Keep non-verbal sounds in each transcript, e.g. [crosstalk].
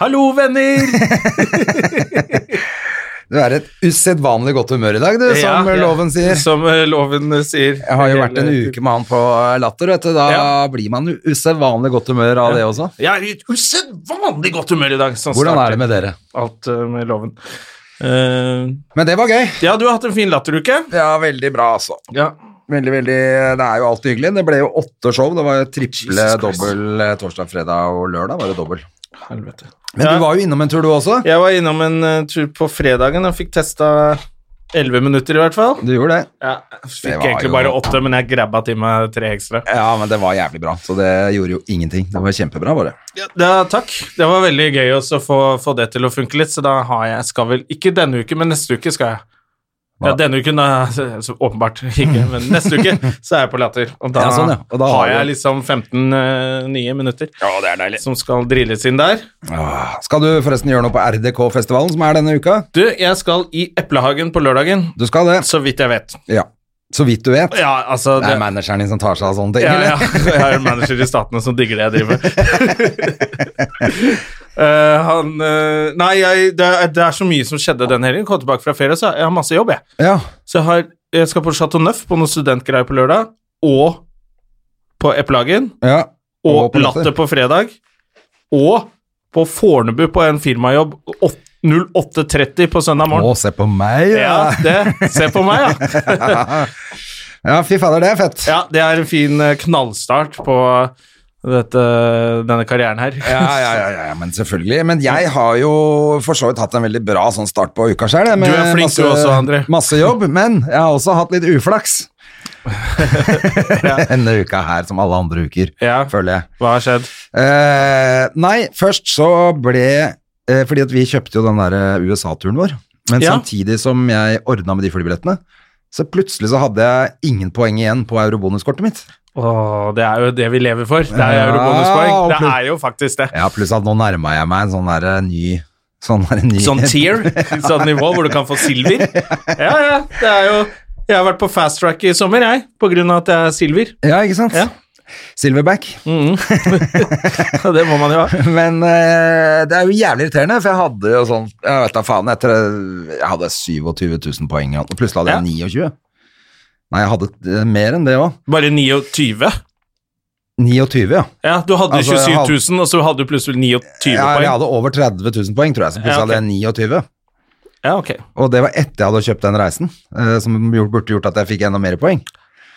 Hallo, venner! Du er et usedvanlig godt humør i dag, du, som Ja, ja. loven sier. Som eh, loven eh, sier. Jeg har jo vært en uke med han på eh, latter, vet du. Da Ja. blir man jo usedvanlig godt humør av det også. Jeg er i et usedvanlig godt humør i dag. Sånn Hvordan starter er det med dere? Alt eh, med loven. Eh, Men det var gøy. ja, du har hatt en fin latteruke. Ja, veldig bra, altså. Ja. Veldig, veldig, Det er jo alltid hyggelig. Det ble jo åtte show. Det var jo triple, Jesus Christ. dobbel eh, torsdag, fredag og lørdag. var det dobbel. Helvete. Men Ja. du var jo innom en tur, du også. Jeg var innom en eh, tur på fredagen og fikk testa 11 minutter, i hvert fall. Du gjorde det. Ja, Det fikk var egentlig jo- bare åtte, men jeg grabba til meg tre ekstra. Ja, men det var jævlig bra. Så det gjorde jo ingenting. Det var kjempebra, bare. Ja, da, takk. Det var veldig gøy også å få, få det til å funke litt, så da har jeg skal vel Ikke denne uken, men neste uke skal jeg. Ja, Hva? denne uken da, så, åpenbart ikke, men neste [laughs] uke så er jeg på latter. Og da, Ja, sånn, ja. Og da har har du- jeg liksom 15 eh, nye minutter som skal drilles inn der. Åh. Ah, Skal du forresten gjøre noe på RDK-festivalen, som er denne uka? Du, jeg skal i Eplehagen på lørdagen, Du skal det? så vidt jeg vet. Ja. Så vidt du vet. Ja, altså Det er manageren din som tar seg av sånne ting, ja, ja. eller? [laughs] Jeg er jo manager i statene som digger det jeg driver med. [laughs] Eh, han eh, Nei, jeg, det, er, det er så mye som skjedde den helgen. Kom tilbake fra ferie, så jeg har masse jobb, jeg. Ja. Så jeg, har, jeg skal på Chateau Neuf på noen studentgreier på lørdag, og på Eplehagen, ja. og, Og på Latter. Latter på fredag, og på Fornebu på en firmajobb åt- 08.30 på søndag morgen. Å, se på meg, ja. Ja, det Se på meg, ja. [laughs] Ja, fy fader, det er fett. Ja, det er en fin eh, knallstart på eh, dette, denne karrieren her. Ja, ja, ja, ja, men selvfølgelig. Men jeg har jo for så vidt hatt en veldig bra sånn start på uka sjøl. Du er flink du også, André. Masse jobb, men jeg har også hatt litt uflaks. [laughs] [laughs] Denne uka her, som alle andre uker, Ja. føler jeg. Hva har skjedd? Eh, nei, først så ble eh, Fordi at vi kjøpte jo den der eh, USA-turen vår. Men Ja. samtidig som jeg ordna med de flybillettene, så plutselig så hadde jeg ingen poeng igjen på eurobonuskortet mitt. Åh, det er jo det vi lever for. Det er Ja, eurobonuspoeng. Det absolutt. er jo faktisk det. Ja, pluss at nå nærma jeg meg en sånn der eh, ny Sånn, der, ny Sånn tier, sånn nivå hvor du kan få silver. Ja, ja, det er jo Jeg har vært på fast track i sommer, jeg, på grunn av at jeg er silver. [laughs] Ja, ikke sant? Ja. Mm. Silverback. Og det må man jo ha. [laughs] Men eh, det er jo jævlig irriterende, for jeg hadde jo sånn Jeg vet da faen, etter Jeg hadde 27 000 poeng, og plutselig hadde jeg 29. Nei, jeg hadde eh, mer enn det òg. Bare 29. 29, ja. Ja, du hadde Altså, jeg 27 hadde- 000, og så hadde du plutselig 29 ja jeg poeng. hadde over 30 000 poeng, tror jeg, Ja, ok. så plutselig hadde jeg 29. Ja, ok. Og det var etter jeg hadde kjøpt den reisen, eh, som gjort- burde gjort at jeg fikk enda mer poeng.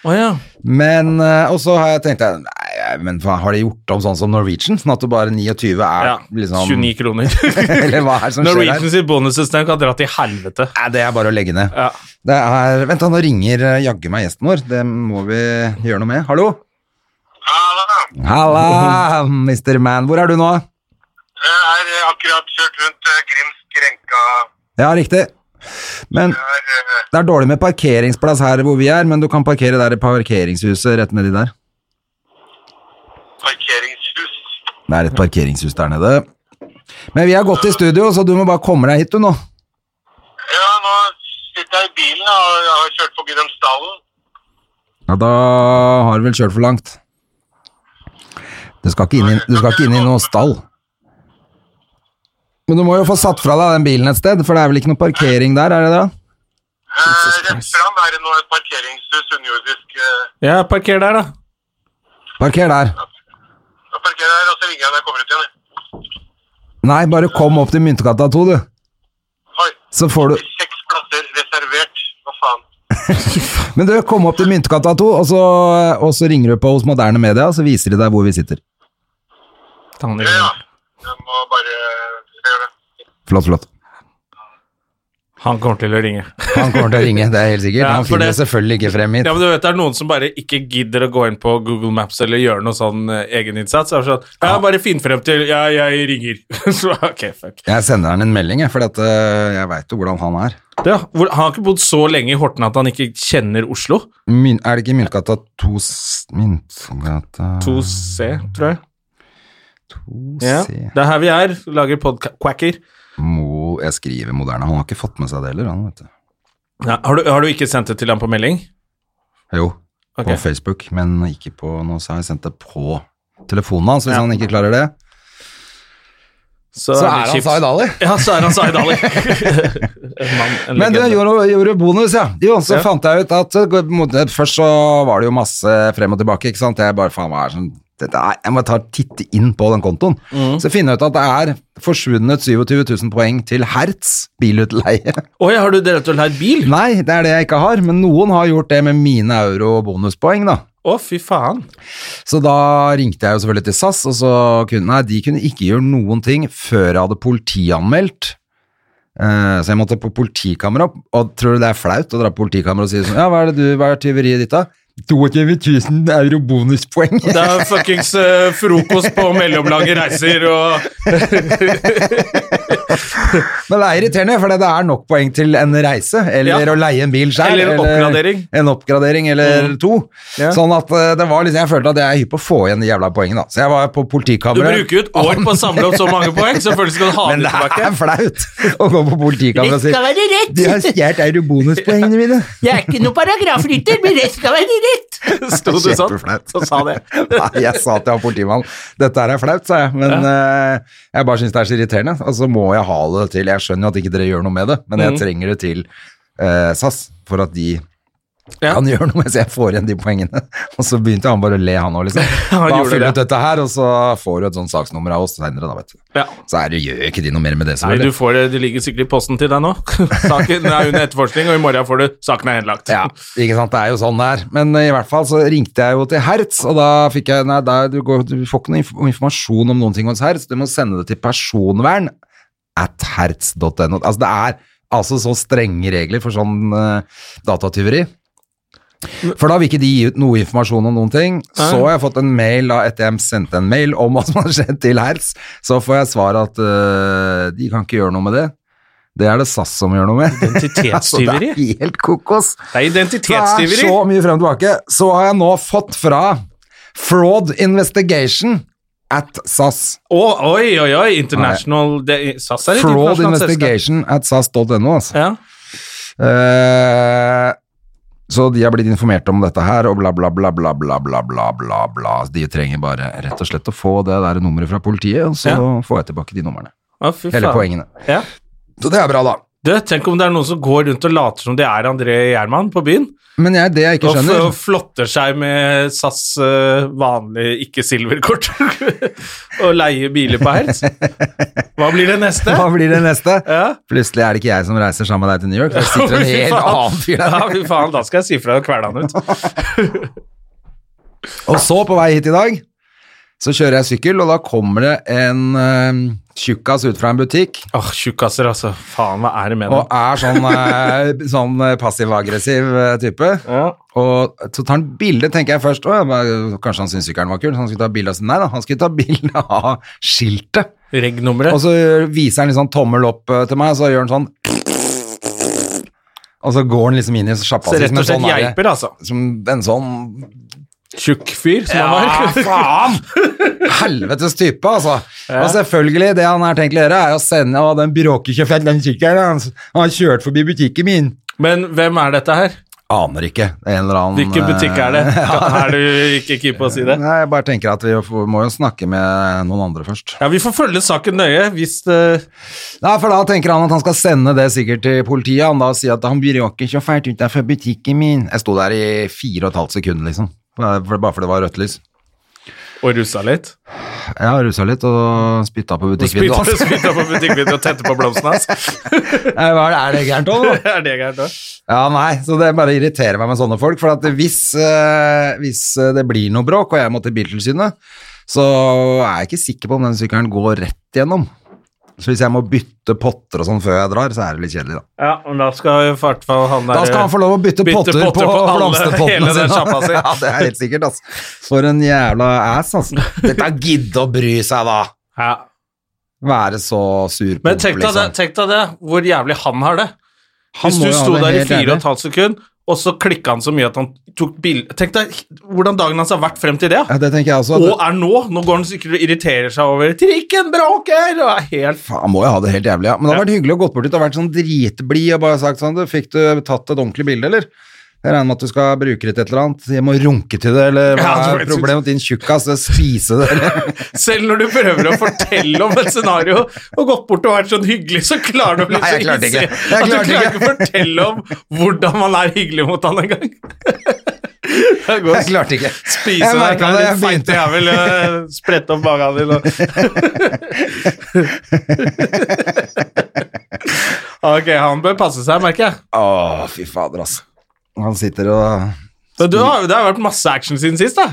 Å ja. Men, eh, Og så har jeg tenkt jeg, Nei, men faen, har de gjort om sånn som Norwegian? Sånn at du bare 29 er ja. liksom 29 kroner. [laughs] Eller hva er det som skjer her? Norwegian sitt bonussystem kan dra til helvete. Nei, det er bare å legge ned. Ja. Det er, vent da, nå ringer eh, jaggu meg gjesten vår. Det må vi gjøre noe med. Hallo? [laughs] Halla, Mr. Man. Hvor er du nå? Jeg er akkurat kjørt rundt eh, Grims Grenka. Ja, riktig. Men Det er, eh, det er dårlig med parkeringsplass her hvor vi er, men du kan parkere der i parkeringshuset rett nedi der. parkeringshus. Det er et parkeringshus der nede. Men vi har gått i studio, så du må bare komme deg hit du nå. Ja, nå sitter jeg i bilen og jeg har kjørt forbi den stallen. Ja, da har du vel kjørt for langt. Du skal ikke inn i, du skal ikke inn i noen stall. Men du må jo få satt fra deg den bilen et sted, for det er vel ikke noe parkering der, er det det? Eh, rett Christ. fram er det nå et parkeringshus underjordisk. eh, Ja, parker der, da. Parker der. Jeg parkerer her, og så ringer jeg når jeg kommer ut igjen. jeg. Nei, bare kom opp til Myntegata 2, du. Oi, Så får du seks plasser reservert. Hva faen? Men du, kom opp til Myntegata 2, og så, og så ringer du på hos Moderne Media, så viser de deg hvor vi sitter. Tanner. Ja, jeg må bare jeg gjør eh, det. Flott, flott. Han kommer til å ringe. Han kommer til å ringe, det er helt sikkert. Ja, han for finner det- selvfølgelig ikke frem hit. Ja, men du vet, Det er noen som bare ikke gidder å gå inn på Google Maps eller gjøre noe sånn eh, egeninnsats. Det er Sånn, ja, bare finn frem til Ja, jeg ringer. [laughs] Så, ok, fuck. Jeg sender han en melding, jeg, for at, øh, jeg veit jo hvordan han er. Ja, hvor, han har ikke bodd så lenge i Horten at han ikke kjenner Oslo. Myn, er det ikke Myntgata 2 Myntgata 2C, tror jeg. 2C Ja. Det er her vi er. Lager podkast... Quacker. Mo, Jeg skriver moderne. Han har ikke fått med seg det heller, han, vet du. Ja, har, du, har du ikke sendt det til ham på melding? Jo, Ok. på Facebook, men ikke på noe, så har jeg sendt det på telefonen hans, hvis han ikke klarer det. Så det er han kjipt. Zaid Ali. Ja, så er han Zaid [laughs] Ali. En mann, en Men du legende. gjorde, gjorde bonus, ja. Jo, så Ja. fant jeg ut at uh, mot- Først så var det jo masse frem og tilbake, ikke sant. Jeg bare faen, hva er det som dette er, Jeg må ta titte inn på den kontoen. Mm. Så finner jeg ut at det er forsvunnet 27 000 poeng til Hertz bilutleie. [laughs] Oi, har du drevet og leid bil? Å, Nei, det er det jeg ikke har, men noen har gjort det med mine euro- og bonuspoeng, da. fy faen. Så da ringte jeg jo selvfølgelig til SAS, og så kunne Nei, de kunne ikke gjøre noen ting før jeg hadde politianmeldt. Eh, så jeg måtte på politikamera, og tror du det er flaut å dra på politikamera og si sånn Ja, hva er det du, hva er tyveriet ditt, da? 22 000 euro bonuspoeng. [laughs] Det er fuckings eh, frokost på mellomlange reiser og Men det er irriterende, for det er nok poeng til en reise, eller Ja. å leie en bil selv. Eller en oppgradering. Mm. En oppgradering, eller to. Ja. Sånn at eh, det var liksom, jeg følte at jeg er hypp på å få igjen de jævla poengene, da. Så jeg var på Du politikamera. bruker jo et år på å samle opp så mange poeng, selvfølgelig skal du ha Men det det tilbake. er flaut å gå på politikamera og si Skal være rett! De har stjålet eurobonuspoengene [laughs] mine. Jeg er ikke noen paragrafrytter, men rett skal være rett! [laughs] Sto du sånn [laughs] Kjempeflaut. og sa det. [laughs] Nei, jeg sa til han politimannen dette her er flaut, sa jeg, men eh, jeg bare syns det er så irriterende. Og så må jeg ha det til Jeg skjønner jo at ikke dere gjør noe med det, men Mm. jeg trenger det til eh, SAS for at de Ja. kan gjøre noe med så jeg får igjen de poengene. [laughs] Og så begynte han bare å le, han [laughs] òg, liksom. Han da gjorde fyller det. du ut dette her, og så får du et sånt saksnummer av oss senere, da, vet du. Ja. Så er det, gjør ikke de noe mer med det, Nei, du selvfølgelig. får det, det ligger sikkert i posten til deg nå. [laughs] Saken er under etterforskning, og i morgen får du saken er henlagt. [laughs] Ja, ikke sant, det er jo sånn det er. Men eh, i hvert fall så ringte jeg jo til Hertz, og da fikk jeg Nei, da, du, går, du får ikke noe inf informasjon om noen ting hos Hertz, du må sende det til personvern at hertz.no. Altså, det er altså så strenge regler for sånn eh, datatyveri. For da vil ikke de gi ut noe informasjon om noen ting. Så har jeg fått en mail da, etter jeg sendte en mail om hva som har skjedd til Hertz. Så får jeg svar at eh, de kan ikke gjøre noe med det. Det er det SAS som gjør noe med. [laughs] Så det Identitetstyveri. er helt kokos. Det er Det er identitetstyveri. så mye frem og tilbake. Så har jeg nå fått fra Fraud Investigation at SAS. Å, oi, oi, oi. International det, SAS er et Fraud internasjonalt selskap. Investigation at SAS.no, altså. Ja. Eh, så de har blitt informert om dette her, og bla, bla, bla, bla, bla, bla, bla, bla, bla. De trenger bare rett og slett å få det der nummeret fra politiet, og så Ja. får jeg tilbake de numrene. Å, fy Hele faen. poengene. Ja. Så det er bra, da. Du, tenk om det er noen som går rundt og later som de er André Gjerman på byen, Men jeg, det jeg ikke og, f- skjønner og flotter seg med SAS' eh, vanlige ikke-silverkort [laughs] og leier biler på Hertz. Hva blir det neste? [laughs] Hva blir det neste? Ja. Plutselig er det ikke jeg som reiser sammen med deg til [laughs] New York, for det sitter en Fy helt faen. annen fyr der. Ja, fy faen, da skal jeg si fra og kvele han ut. Og så på vei hit i dag, så kjører jeg sykkel, og da kommer det en uh, tjukkas ut fra en butikk, Åh, tjukkaser, altså. Faen, hva er det med og dem? er sånn, eh, [laughs] sånn eh, passiv-aggressiv eh, type. Ja. Og så tar han bilde, tenker jeg først. Å, ja, men eh, kanskje han syntes sykkelen var kul, så han skulle ta bilde av Nei da, han skulle ta [laughs] bilde av skiltet. Og Reg-nummeret. så viser han liksom tommel opp eh, til meg, og så gjør han sånn [laughs] Og så går han liksom inn i Så sjappa si, rett som en og slett sånn derre- geiper, altså. Som en sånn Tjukk fyr, som Ja, han var. faen! Helvetes type, altså. Og selvfølgelig, det han har tenkt å gjøre, er å sende Å, den bråker ikke fett, den sykkelen. hans. Han har kjørt forbi butikken min. [laughs] Men hvem er dette her? Aner ikke. En eller annen eh, Hvilken butikk er det? [laughs] Er du ikke keen på å si det? Nei, jeg bare tenker at vi får- må jo snakke med noen andre først. Ja, Vi får følge saken nøye hvis eh, det Nei, for da tenker han at han skal sende det sikkert til politiet. Han da sier at han bråker så fælt utenfor butikken min. Jeg sto der i fire og et halvt sekund, liksom. Bare bare fordi det var rødt lys. Og rusa litt. Jeg har rusa litt og spytta på butikkvinduet. Spytta hans. spytta på butikkvinduet og tente på blomstene hans. [laughs] Nei, hva Er det- er det gærent [laughs] òg, nå? Er det gærent da? Ja, nei, så det bare irriterer meg med sånne folk, for at hvis, eh, hvis eh, det blir noe bråk, og jeg må til Biltilsynet, så er jeg ikke sikker på om den sykkelen går rett gjennom. Så hvis jeg må bytte potter og sånn før jeg drar, så er det litt kjedelig, da. Ja, men da skal i hvert fall han der Da skal han få lov å bytte, potter, på, alle- blomsterpottene hele den sjappa sine. si. [laughs] Ja, det er helt sikkert, altså. For en jævla ass, altså. Dette gidder å bry seg, da. Ja. Være så sur på Men tenk deg, sånn. det, tenk deg det, hvor jævlig han har det. Han Hvis må du jo ha sto det der i helt fire og jævlig. et halvt sekund, og så klikka han så mye at han tok bilde Tenk deg hvordan dagen hans har vært frem til det. Ja, det tenker jeg også. Og At er nå. Nå går han sikkert og irriterer seg over 'trikken bråker' og er helt Faen, han må jo ha det helt jævlig, ja. Men det hadde vært hyggelig å gått bort dit og vært sånn dritblid og bare sagt sånn, du, fikk du tatt et ordentlig bilde, eller? Jeg regner med at du skal bruke det til et eller annet. Jeg må runke til det, eller hva Ja, er det var- problemet din tjukkas? Jeg Spise det, eller? Selv når du prøver å fortelle om et scenario og gått bort og vært sånn hyggelig, så klarer du å bli Nei, så jeg klarte hissig at ikke. Jeg du klarte klarer ikke. ikke å fortelle om hvordan man er hyggelig mot han engang. [laughs] Jeg klarte ikke. Spise Jeg deg, merket det, jeg din feite begynte. jævel. eh, Sprette opp magen [laughs] din og Ok, han bør passe seg, merker jeg. Å, fy fader, ass. Han sitter og Men du har, det har vært masse action siden sist, da.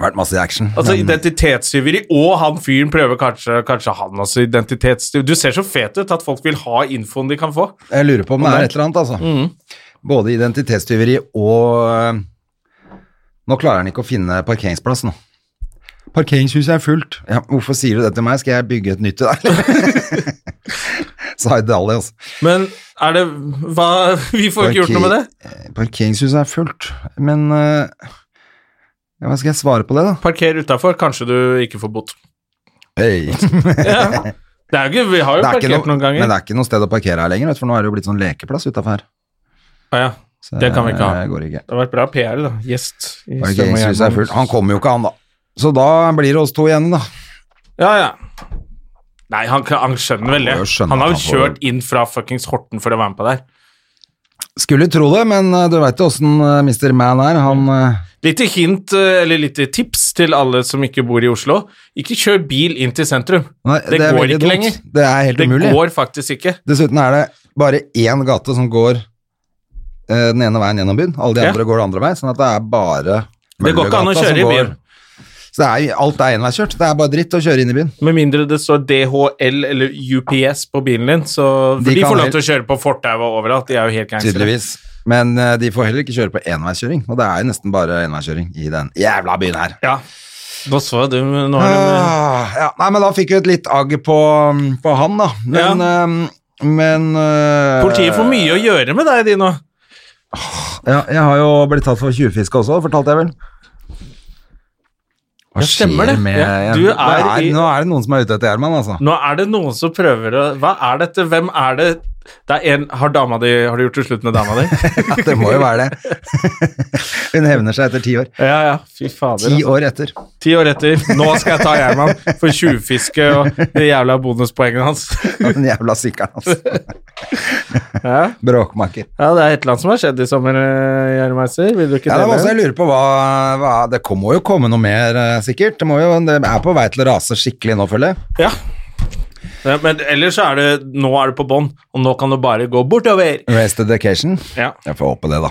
vært masse i action. Altså Men- Identitetstyveri, og han fyren prøver kanskje, kanskje han også identitetstyv... Du ser så fet ut at folk vil ha infoen de kan få. Jeg lurer på om det er et eller annet, altså. Mm. Både identitetstyveri og øh, Nå klarer han ikke å finne parkeringsplass nå. Parkeringshuset er fullt. Ja, hvorfor sier du det til meg? Skal jeg bygge et nytt til deg? [laughs] Sa Dali, altså. Men er det hva, [laughs] Vi får jo ikke gjort noe med det. Parker- Parkeringshuset er fullt, men øh, ja, Hva skal jeg svare på det, da? Parker utafor, kanskje du ikke får [laughs] bot. Hey. Ja. Det er jo ikke, vi har jo Det er ikke parkert noe, noen ganger. men det er ikke noe sted å parkere her lenger, vet, du, for nå er det jo blitt sånn lekeplass utafor her. Ah, ja. Så Det kan vi ikke ha. Det går ikke. Det har vært bra PR, da. Gjest. i Strøm og Parkeringshuset er Jernbane. fullt. Han kommer jo ikke, han, da. Så da blir det oss to igjen, da. Ja, ja. Nei, han, kan- han skjønner vel det. må jo skjønne Han har jo at han får- kjørt inn fra fuckings Horten for å være med på det her. Skulle tro det, men eh, du veit jo åssen Mr. Man er. Han eh, Litt hint, eh, eller litt tips til alle som ikke bor i Oslo. Ikke kjør bil inn til sentrum. nei, det, er går veldig ikke dumt. lenger. Det er helt Det umulig. går faktisk ikke. Dessuten er det bare én gate som går eh, den ene veien gjennom byen. Alle de Ja. andre går den andre veien, sånn at det er bare Det går ikke an å Møllergata kjøre i som byen. Så det er, alt er enveiskjørt. Det er bare dritt å kjøre inn i byen. Med mindre det står DHL eller UPS på bilen din, så for De de kan får lov helt- til å kjøre på fortauet og overalt. De er jo helt gangstere. Tydeligvis. Men eh, de får heller ikke kjøre på enveiskjøring, og det er jo nesten bare enveiskjøring i den jævla byen her. Ja. Nå så jeg du Nå har du Ah, ja. Nei, men da fikk vi et litt agg på, um, på han, da. Men, eh, men eh, Politiet får mye å gjøre med deg, de nå. Ja, jeg har jo blitt tatt for tjuvfiske også, fortalte jeg vel. Hva Ja, stemmer det. med Ja, du Det er i- Nå er det noen som er ute etter Gjerman, altså. Nå er det noen som prøver å Hva er dette? Hvem er det? Det er en Har dama di Har du gjort det slutt med dama di? Ja, det må jo være det. Hun hevner seg etter ti år. [laughs] Ja, ja. Fy fader. altså. Ti år etter. Ti år etter. Nå skal jeg ta Gjerman for tjuvfiske og de jævla bonuspoengene hans. Den jævla [laughs] sykkelen, altså. Ja. Bråkmaker. ja, det er et eller annet som har skjedd i sommer, eh, Gjermeiser. Vil du ikke Ja, det, var også, dele? jeg lurer på hva, hva Det må jo komme noe mer, eh, sikkert. Det, må jo, det er på vei til å rase skikkelig nå, føler jeg. Ja. ja. Men ellers så er det Nå er du på bånn, og nå kan du bare gå bortover. Race dedication. Ja. Jeg får håpe det, da.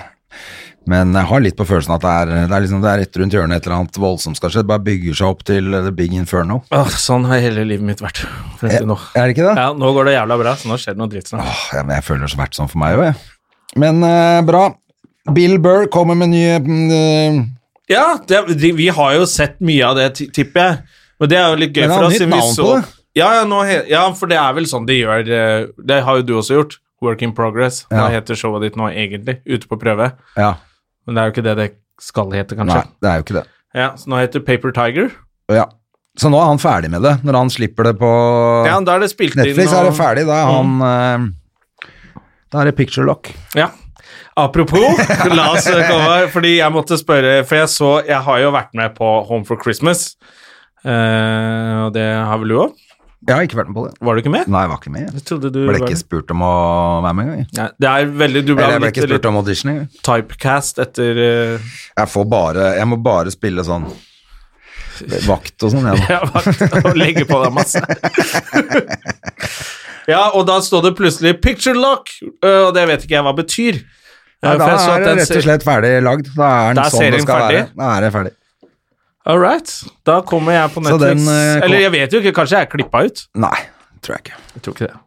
Men jeg har litt på følelsen at det er, det er, liksom, det er rett rundt hjørnet et eller annet voldsomt skal skje. Det bare bygger seg opp til eh, the big inferno. Eh, Åh, sånn har hele livet mitt vært frem til nå. Er det ikke det? Ja, nå går det jævla bra, så nå skjer det noe dritt snart. Åh, ja, men jeg føler det har vært sånn for meg òg, jeg. Men eh, bra. Bill Burr kommer med nye mm, eh, Ja, det, de, vi har jo sett mye av det, ti- tipper jeg. Men det er jo litt gøy Men han for har oss. nytt siden vi navn så- på det. Ja, ja, nå, he- ja, for det er vel sånn de gjør eh, Det har jo du også gjort. Work in progress. Hva Ja. heter showet ditt nå egentlig? Ute på prøve. Ja. Men det er jo ikke det det skal hete, Nei, kanskje. det er jo ikke det. Ja, Så nå heter det Paper Tiger. Ja. Så nå er han ferdig med det, når han slipper det på Ja, da Mm. er det spilt inn. Netflix. og- er det ferdig, da er han eh, Da er det picture lock. Ja. Apropos, [laughs] la oss eh, komme Fordi jeg måtte spørre, for jeg så Jeg har jo vært med på Home for Christmas. Eh, og det har vel du òg? Jeg har ikke vært med på det. Var du ikke med? Nei, jeg var ikke med. Jeg trodde du Jeg ble var ikke med. spurt om å være med engang. jeg. Nei, det er veldig Du ble, Eller jeg ble litt, ikke litt spurt om audition engang. typecast etter eh, [laughs] Jeg får bare Jeg må bare spille sånn vakt og sånn, [laughs] jeg, da. jeg har valgt å legge på deg masse. [laughs] ja, og da står det plutselig 'picture lock', eh, og det vet ikke jeg hva betyr. Eh, Nei, for da jeg så at er det den rett ser- og slett ferdig lagd. Da er den Da er sånn det serien skal ferdig. være. Da er det ferdig. All right, da kommer jeg på Så Netflix. den, eh, kom- Eller jeg vet jo ikke, kanskje jeg er klippa ut. Nei, tror jeg ikke. Jeg tror ikke det.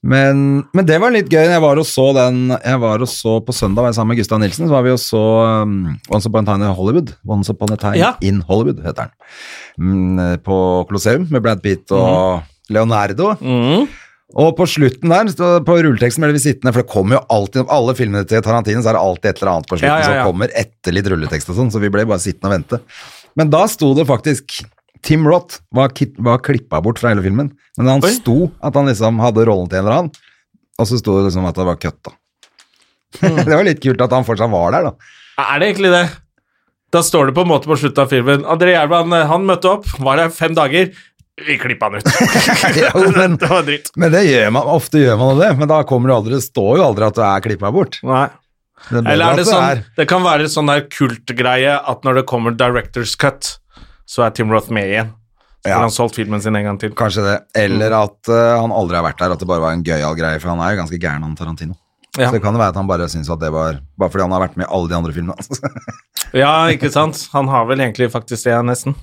Men, men det var litt gøy. Jeg var og så den Jeg var og så på søndag var jeg sammen med Gustav Nilsen. Så var vi og så um, Once Upon a Time in Hollywood. Once Upon a Time Ja. in Hollywood heter den. Mm, på Colosseum med Brad Pitt Mhm. og Leonardo. Mm. Og på slutten der, så på rulleteksten ble vi sittende, for det kommer jo alltid opp alle filmene til Tarantino, så er det alltid et eller annet på slutten Ja, ja, ja. som kommer etter litt rulletekst og sånn, så vi ble bare sittende og vente. Men da sto det faktisk Tim Roth var, kit- var klippa bort fra hele filmen, men han Oi. sto at han liksom hadde rollen til en eller annen, og så sto det liksom at det var køtt, da. Hmm. [laughs] det var litt kult at han fortsatt var der, [laughs] da. Er det egentlig det? Da står det på en måte på slutten av filmen André Gjerman, han møtte opp, var her fem dager. Vi klippa han ut. [laughs] Jo, men, det var dritt. men det gjør man, ofte gjør man det, men da kommer det aldri, det står jo aldri at du er klippa bort. Nei. Det er Eller bedre er det at du sånn Det kan være sånn der kultgreie at når det kommer director's cut, så er Tim Roth med igjen. Så Ja. har han solgt filmen sin en gang til. Kanskje det. Eller Mm. at eh, han aldri har vært der, at det bare var en gøyal greie, for han er jo ganske gæren, han Tarantino. Ja. Så det kan jo være at han bare syns at det var Bare fordi han har vært med i alle de andre filmene. Altså. [laughs] ja, ikke sant? Han har vel egentlig faktisk det, nesten.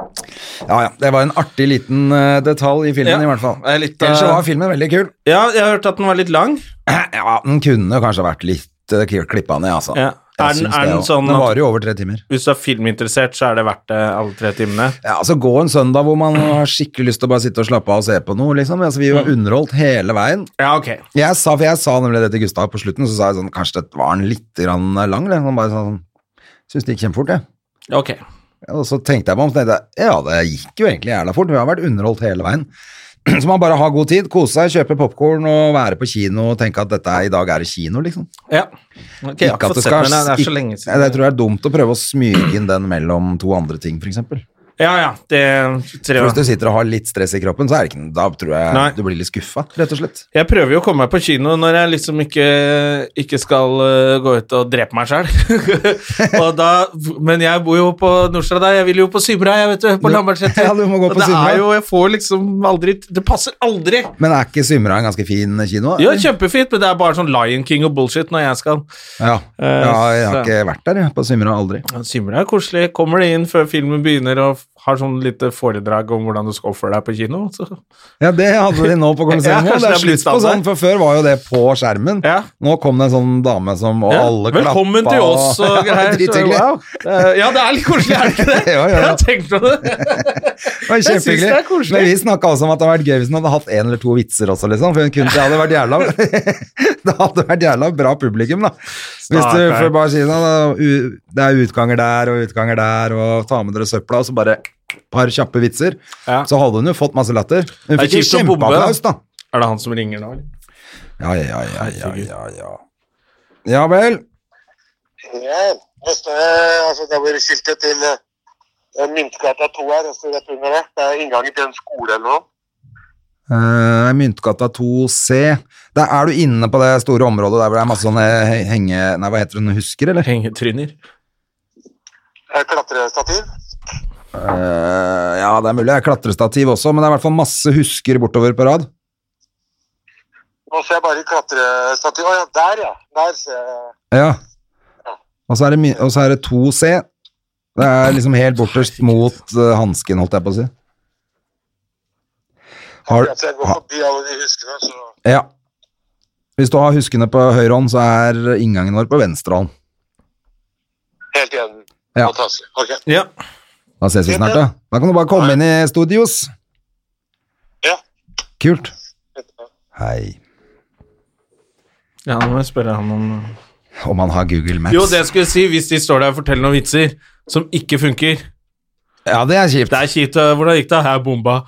ja, ja. Det var en artig liten eh, detalj i filmen, Ja. i hvert fall. Det er litt, Ellers så eh, var filmen veldig kul. [clears throat] Ja, jeg har hørt at den var litt lang. Ja, den kunne kanskje vært litt uh, klippa ned, altså. Ja. Jeg Er den- syns er det den jo. sånn Den at- varer jo over tre timer. Hvis du er filminteressert, så er det verdt det, alle tre timene. Ja, altså Gå en søndag hvor man har skikkelig lyst til å bare sitte og slappe av og se på noe, liksom. Altså, vi var Mm. underholdt hele veien. Ja, ok. Jeg sa, for jeg sa nemlig det til Gustav på slutten, så sa jeg sånn Kanskje det var den litt grann lang, eller? Han bare sånn Syns det gikk kjempefort, jeg. Ok. Ja, Og så tenkte jeg meg om, så tenkte jeg, ja, det gikk jo egentlig jævla fort, vi har vært underholdt hele veien. [clears throat] Så man bare har god tid, kose seg, kjøpe popcorn og være på kino og tenke at dette er, i dag er det kino, liksom. Ja. Ok, jeg har Ikke at fått det sett skal- den, det er så ikke- lenge Ja, siden. Jeg tror det er dumt å prøve å smyge inn den mellom to andre ting, for eksempel. Ja, ja, det For tror hvis jeg. du sitter og har litt stress i kroppen, så er det ikke, da tror jeg Nei. du blir litt skuffa, rett og slett. Jeg prøver jo å komme meg på kino når jeg liksom ikke, ikke skal øh, gå ut og drepe meg sjøl. [laughs] men jeg bor jo på Nordstrand der, jeg vil jo på Sybra, jeg, vet du. På Du- Lambertseter. Ja, du må gå Og på det Sybra. er jo, jeg får liksom aldri Det passer aldri! Men er ikke Symra en ganske fin kino? Ja, eller? kjempefint, men det er bare sånn Lion King og bullshit når jeg skal. ja. ja, jeg har Eh, så- ikke vært der, jeg, på Symra, aldri. Ja, Symra er koselig. Kommer det inn før filmen begynner og har sånn lite foredrag om hvordan du skal oppføre deg på kino? Så. Ja, det hadde de [laughs] nå på Ja, Colosseum. kanskje også. det det er er blitt slutt standard. på sånn, for før var jo det på skjermen. Ja. Nå kom det en sånn dame som Og Ja, alle klappa. Velkommen til oss [laughs] og greier. Ja, så, Drithyggelig. wow. Eh, Ja, det er litt koselig, er det ikke det? [laughs] Ja, ja, ja. Jeg har tenkt på det. Det var synes det er Kjempehyggelig. koselig. Men vi snakka også om at det hadde vært gøy hvis hun hadde hatt en eller to vitser også, liksom. For hun kunne det hadde vært jævla [laughs] Det hadde vært jævla bra publikum, da. Hvis du Stakkar. får bare si sånn da, u- Det er utganger der og utganger der, og ta med dere søpla, og så bare et par kjappe vitser. Ja. Så hadde hun jo fått masse latter. Hun Det er fikk jo kjipt å bombe, da. kjempeapplaus, da. Er det han som ringer nå? eller? Ja, ja, ja, ja, ja, ja. Ja vel. Ja, neste, altså der hvor skiltet til eh, Myntgata 2 her, det står rett under det. Det er inngangen til en skole eller noe. Eh, Myntgata 2C. Der er du inne på det store området der hvor det er masse sånne he- henge... Nei, hva heter hun? Husker, eller? Hengetryner. Eh, Klatrestativ. Eh, ja, det er mulig. Det er klatrestativ også, men det er i hvert fall masse husker bortover på rad. Nå ser jeg bare klatrestativ. Å ja, der ja. Der ser jeg. Ja. Og så er det, my- og så er det 2C. Det er liksom helt borterst mot eh, hansken, holdt jeg på å si. Har, Altså, jeg går ha, forbi alle de huskene, så ja. Hvis du har huskene på høyre hånd, så er inngangen vår på venstre hånd. helt igjen. Ja. Fantastisk. Ok. Ja. Da ses vi snart, da. Da kan du bare komme inn i studios. Ja. Kult. Hei. ja, nå må jeg spørre han om Om han har Google Maps. Jo, det skulle jeg si, hvis de står der og forteller noen vitser som ikke funker. Ja, det er kjipt. Det er kjipt. eh, Hvordan gikk det? Her bomba.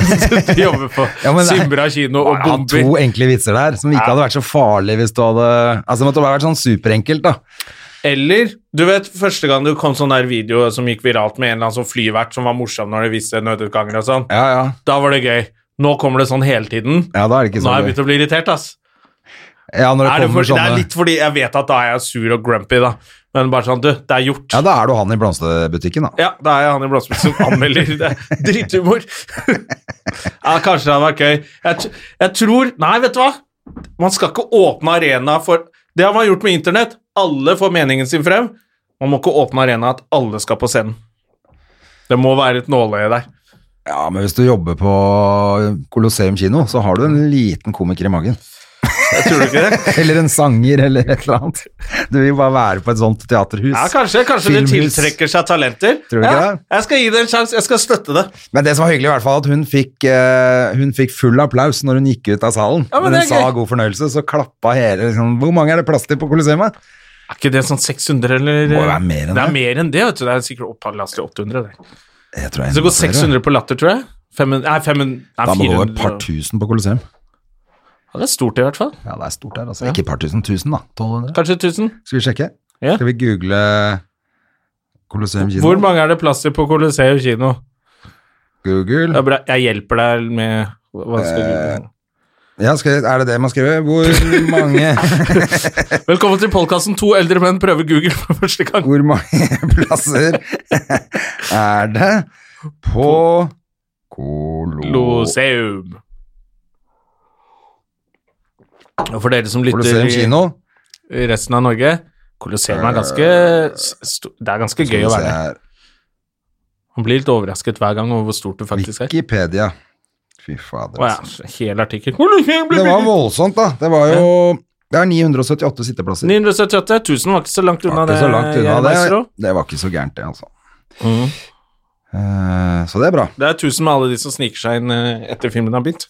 [laughs] de jobber på Ja, men det er- Symra kino og Bare ha bomber. to enkle vitser der som ikke hadde vært så farlig hvis du hadde Altså, det måtte bare vært sånn superenkelt, da. Eller, du vet, første gang du kom sånn der video som gikk viralt med en eller annen sånn flyvert som var morsom når det viste nødutganger og sånn, Ja, ja. da var det gøy. Nå kommer det sånn hele tiden. Ja, da er det ikke Nå så har jeg gøy. begynt å bli irritert, ass. Ja, når det Er det, kommer for, det er sånne litt fordi jeg vet at da er jeg sur og grumpy, da. Men bare sånn, du, det er gjort. Ja, da er du han i blomsterbutikken, da. Ja, da er jeg han i Blåsby som anmelder. Det er dritthumor. Ja, kanskje det hadde vært gøy. Jeg, t- jeg tror Nei, vet du hva? Man skal ikke åpne arena for Det har man gjort med internett. Alle får meningen sin frem. Man må ikke åpne arena at alle skal på scenen. Det må være et nåløye der. Ja, men hvis du jobber på Colosseum kino, så har du en liten komiker i magen. [laughs] Jeg tror ikke [laughs] det. Eller en sanger, eller et eller annet. Du vil jo bare være på et sånt teaterhus. Ja, kanskje kanskje det Filmhus. tiltrekker seg talenter. Tror du ikke ja, det? jeg skal gi det en sjanse. Jeg skal støtte det. Men det som var hyggelig, i hvert fall, at hun fikk, eh, hun fikk full applaus når hun gikk ut av salen. Ja, men når det hun er sa gøy. god fornøyelse, så klappa hele liksom, Hvor mange er det plass til på Coliseum? Er ikke det sånn 600 eller Må jo være mer enn det. det. er mer enn det, vet du. Det er sikkert opp, plass til 800. Det. Jeg tror jeg Så det går enda flere. 600 på Latter, tror jeg. 500, nei, 500, nei, Da må det gå 400. et par tusen på Coliseum. Ja, det er stort i hvert fall. Ja, det er stort der, altså. Ikke et par tusen, tusen, da. 1200. Kanskje 1000. Skal vi sjekke? Ja. Skal vi google Colosseum kino? Hvor mange er det plass til på Colosseum kino? Det Google. er bra. Jeg hjelper deg med hva skal Eh. du- Ja, skal, er det det man skriver? Hvor [laughs] mange, Velkommen til podkasten 'To eldre menn prøver Google' for første gang. hvor mange plasser er det på Colosseum Colosseum. Og for dere som lytter i kino? i resten av Norge Colosseum er ganske Eh. s- sto- Det er ganske gøy å være der. Man blir litt overrasket hver gang over hvor stort det faktisk er. Wikipedia. Fy fader. Å altså. ja, hel artikkel. Colosseum ble Det var bygget voldsomt, da. Det var jo Det er 978 sitteplasser. 978 1000 var ikke så langt Det var unna ikke det. så langt unna Jørgen det. Weisserud. Det var ikke så gærent, det, altså. Mhm. Eh, så det er bra. Det er 1000 med alle de som sniker seg inn eh, etter filmen har begynt.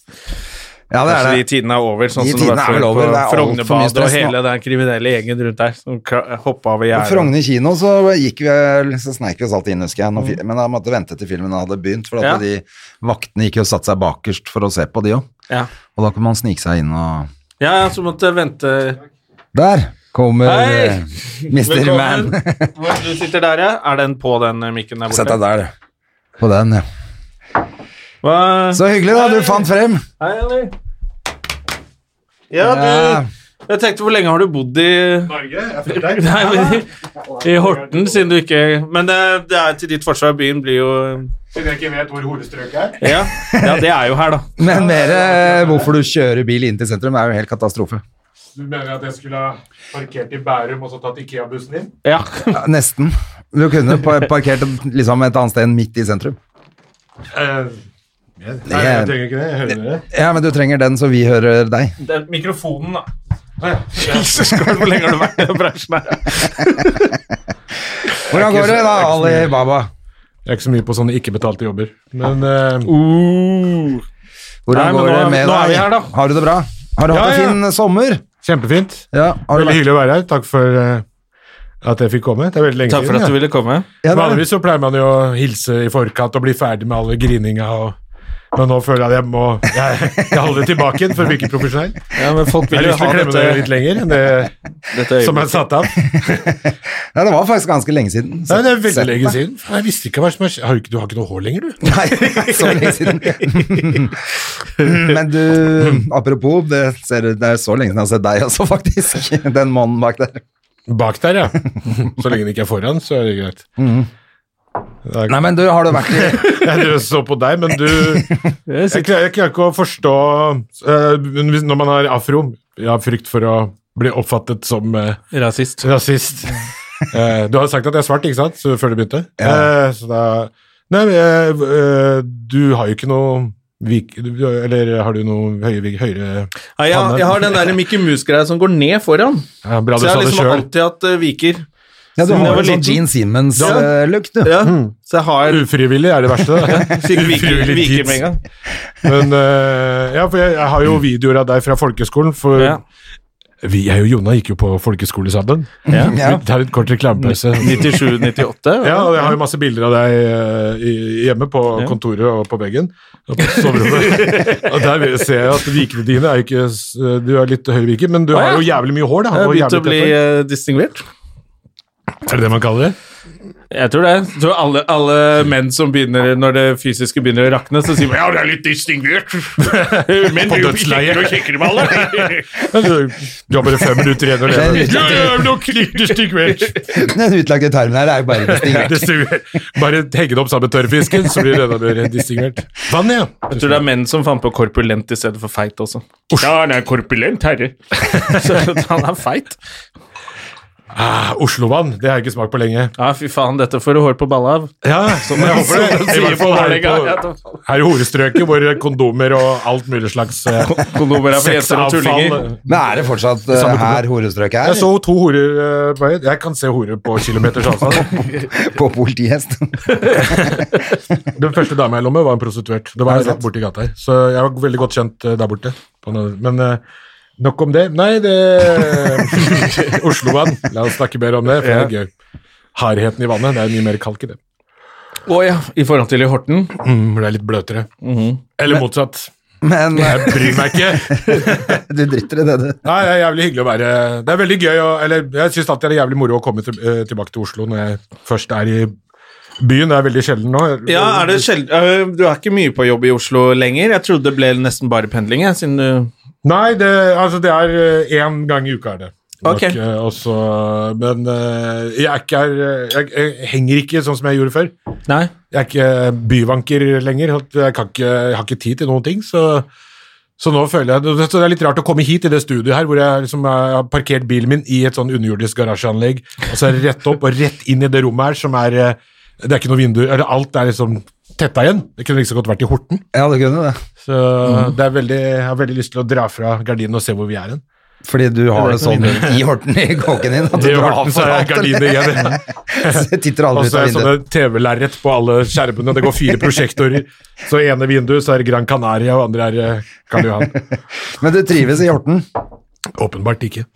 Ja, det er Kanskje det. de tidene er over, sånn De som det tidene var er før vel over, på det er altfor mye Frognerbadet og stress nå. hele den kriminelle gjengen rundt der som kra- hoppa over På gjerdet. Frogner kino så gikk vi, så sneik vi oss alltid inn, husker jeg. Når, fi- men da måtte vi vente til filmen hadde begynt, for at Mm. Ja. de vaktene gikk jo og satte seg bakerst for å se på, de òg. Ja. Og da kunne man snike seg inn og ja, ja, så måtte jeg vente Der kommer Hei! eh, Mr. Man. Velkommen. [laughs] Hvor du sitter der, ja. Er den på den eh, mikken der Sett deg borte? der, du. På den, ja. Hva? Så hyggelig, da. Hei. Du fant frem. Hei, Annie. Ja, du Jeg tenkte, hvor lenge har du bodd i Norge? Jeg fikk deg. Nei, men, i Horten, siden du ikke Men det, det er til ditt forsvar. Byen blir jo Siden jeg ikke vet hvor horestrøk er. Ja, ja det er jo her, da. Men mer eh, hvorfor du kjører bil inn til sentrum, er jo helt katastrofe. Du mener at jeg skulle ha parkert i Bærum og så tatt Ikea-bussen inn? [laughs] Ja. Ja, nesten. Du kunne pa- parkert liksom et annet sted enn midt i sentrum. Eh, Nei, jeg trenger ikke det. Jeg hører dere. Ja, men du trenger den, så vi hører deg. Det er mikrofonen, da. [laughs] Jesus Christ, hvor lenge har du vært i den bransjen her? Hvordan går det, da, Ali Baba? Jeg er ikke så mye på sånne ikke-betalte jobber. Men eh, Uh. Hvordan Nei, men går nå er det vi- med nå er vi deg? her, da. Har du det bra? Har du hatt Ja, ja. en fin sommer? kjempefint. Ja, har du Veldig hyggelig å være her. Takk for eh, at jeg fikk komme. Det er veldig lenge Takk for at du ville komme. Ja, det er det. Vanligvis så pleier man jo å hilse i forkant og bli ferdig med alle grininga og men nå føler jeg at jeg må jeg, jeg holder det tilbake igjen for å virke profesjonell. Ja, men [laughs] folk vil Jeg har jo lyst ha til å klemme dette, deg litt lenger enn det dette som er øyeblikket. satt av. Nei, det var faktisk ganske lenge siden. Nei, det er veldig Sett lenge deg. siden. Jeg visste ikke hva som har skjedd. Har du ikke- Du har ikke noe hår lenger, du? Nei, så lenge siden. [laughs] Men du, apropos, det, ser, det er så lenge siden jeg har sett deg også, faktisk. Den mannen bak der. Bak der, ja. Så lenge det ikke er foran, så er det greit. Da- Nei, men du, har du vært i Jeg så på deg, men du Jeg klarer, jeg klarer ikke å forstå eh, hvis- Når man har afro, jeg har frykt for å bli oppfattet som eh, Rasist. [laughs] rasist. Eh, du har sagt at jeg er svart, ikke sant? Så før du begynte. Ja. Eh, så da Nei, men jeg- eh, du har jo ikke noe vik, du- Eller har du noe høye, vik- høyere Ja, jeg, jeg har den der Mickey Mouse-greia som går ned foran. ja, Bra Så du jeg sa har det liksom sjøl. alltid hatt eh, viker. Ja, du Siden jeg har var en sånn liten. Gene Ja. Siemens-look, du. Ja, så jeg har Ufrivillig er det verste. [laughs] da. fikk viker, Ufrivillig viker tids. med en [laughs] gang. Mm. Men eh, ja, for jeg, jeg har jo videoer av deg fra folkeskolen, for Ja. vi, jeg og Jonna gikk jo på folkeskole sammen. [laughs] Mm. Ja. Vi tar en kort reklamepause. 97-98. Ja, og jeg har jo masse bilder av deg eh, i- hjemme på Ja. kontoret og på veggen. Og på soverommet. [laughs] og der vil jeg se at vikene dine er jo ikke s- Du er litt høy viker, men Å, du har ja. jo jævlig mye hår, da. Jeg har Og begynt å jævlig bli tett hår. eh, distinguert. Er det det man kaller det? Jeg tror det. Jeg tror alle, alle menn som begynner, når det fysiske begynner å rakne, så sier man ja, det er litt distinguert. Men På du dødsleiet. kikker og kikker med [laughs] alle. Men Du, du har bare fem minutter igjen å leve. Det er nok litt distinguert. Den utlagte termen her er jo [laughs] bare distingert. Distinguert. Bare henge det opp sammen med tørrfisken, så blir det enda mer distingert. Vann, ja. Jeg tror det er menn som fant på korpulent i stedet for feit [laughs] også. Ja, han er korpulent herre. Så han er feit. Ah, Oslovann, det har jeg ikke smakt på lenge. Ja, fy faen, dette får du hår på balla av. Ja, som jeg håper det. Som de I hvert sier på fall her, Vålerenga. på, her i horestrøket, hvor kondomer og alt mulig slags eh, [laughs] Kondomer er for jenter og tullinger. sexavfall. Men er det fortsatt eh, Samme her horestrøket Jeg er? så to horer eh, på høyd. Jeg kan se horer på kilometers avstand. På politihest? [laughs] Den første dama jeg lå med, var en prostituert. Det var rett borti gata her. Så jeg var veldig godt kjent eh, der borte. På den- Men eh, nok om det. Nei, det [laughs] Oslovann. La oss snakke mer om det, for det er gøy. Hardheten i vannet. Det er mye mer kalk i det. Å ja, i forhold til i Horten. Mm, det er litt bløtere. Mhm. Eller motsatt. Men eh, Jeg bryr meg ikke. du driter i det, du. Nei, det er jævlig hyggelig å være Det er veldig gøy å Eller jeg syns alltid det er jævlig moro å komme til, eh, tilbake til Oslo når jeg først er i byen. Det er veldig sjelden nå. Ja, er det sjeld... øh, Du er ikke mye på jobb i Oslo lenger. Jeg trodde det ble nesten bare pendling, jeg, siden du Nei, det, altså det er én gang i uka er det. Ok. eh, og så- men eh, jeg er ikke her eh, jeg, jeg henger ikke sånn som jeg gjorde før. Nei. Jeg er ikke byvanker lenger. Jeg, kan ikke, jeg har ikke tid til noen ting. Så, så nå føler jeg det, så det er litt rart å komme hit i det studioet her, hvor jeg, liksom, jeg har parkert bilen min i et sånn underjordisk garasjeanlegg, og så er det rett opp og rett inn i det rommet her som er eh, Det er ikke noen vinduer, eller alt er liksom tetta igjen. Det kunne like så godt vært i Horten. Ja, det kunne det. Så det er veldig, jeg har veldig lyst til å dra fra gardinen og se hvor vi er hen. Fordi du har det sånn i horten i kåken din. At du I drar Horten så for er alt, gardiner igjen. eller? [laughs] Så Titter Og aldri ut så av er sånn det vinduet. sånne TV-lerret på alle skjermene. Det går fire prosjektorer. Så i ene vinduet så er det Gran Canaria, og andre er eh, Karl Johan. Men du trives i horten? Åpenbart ikke.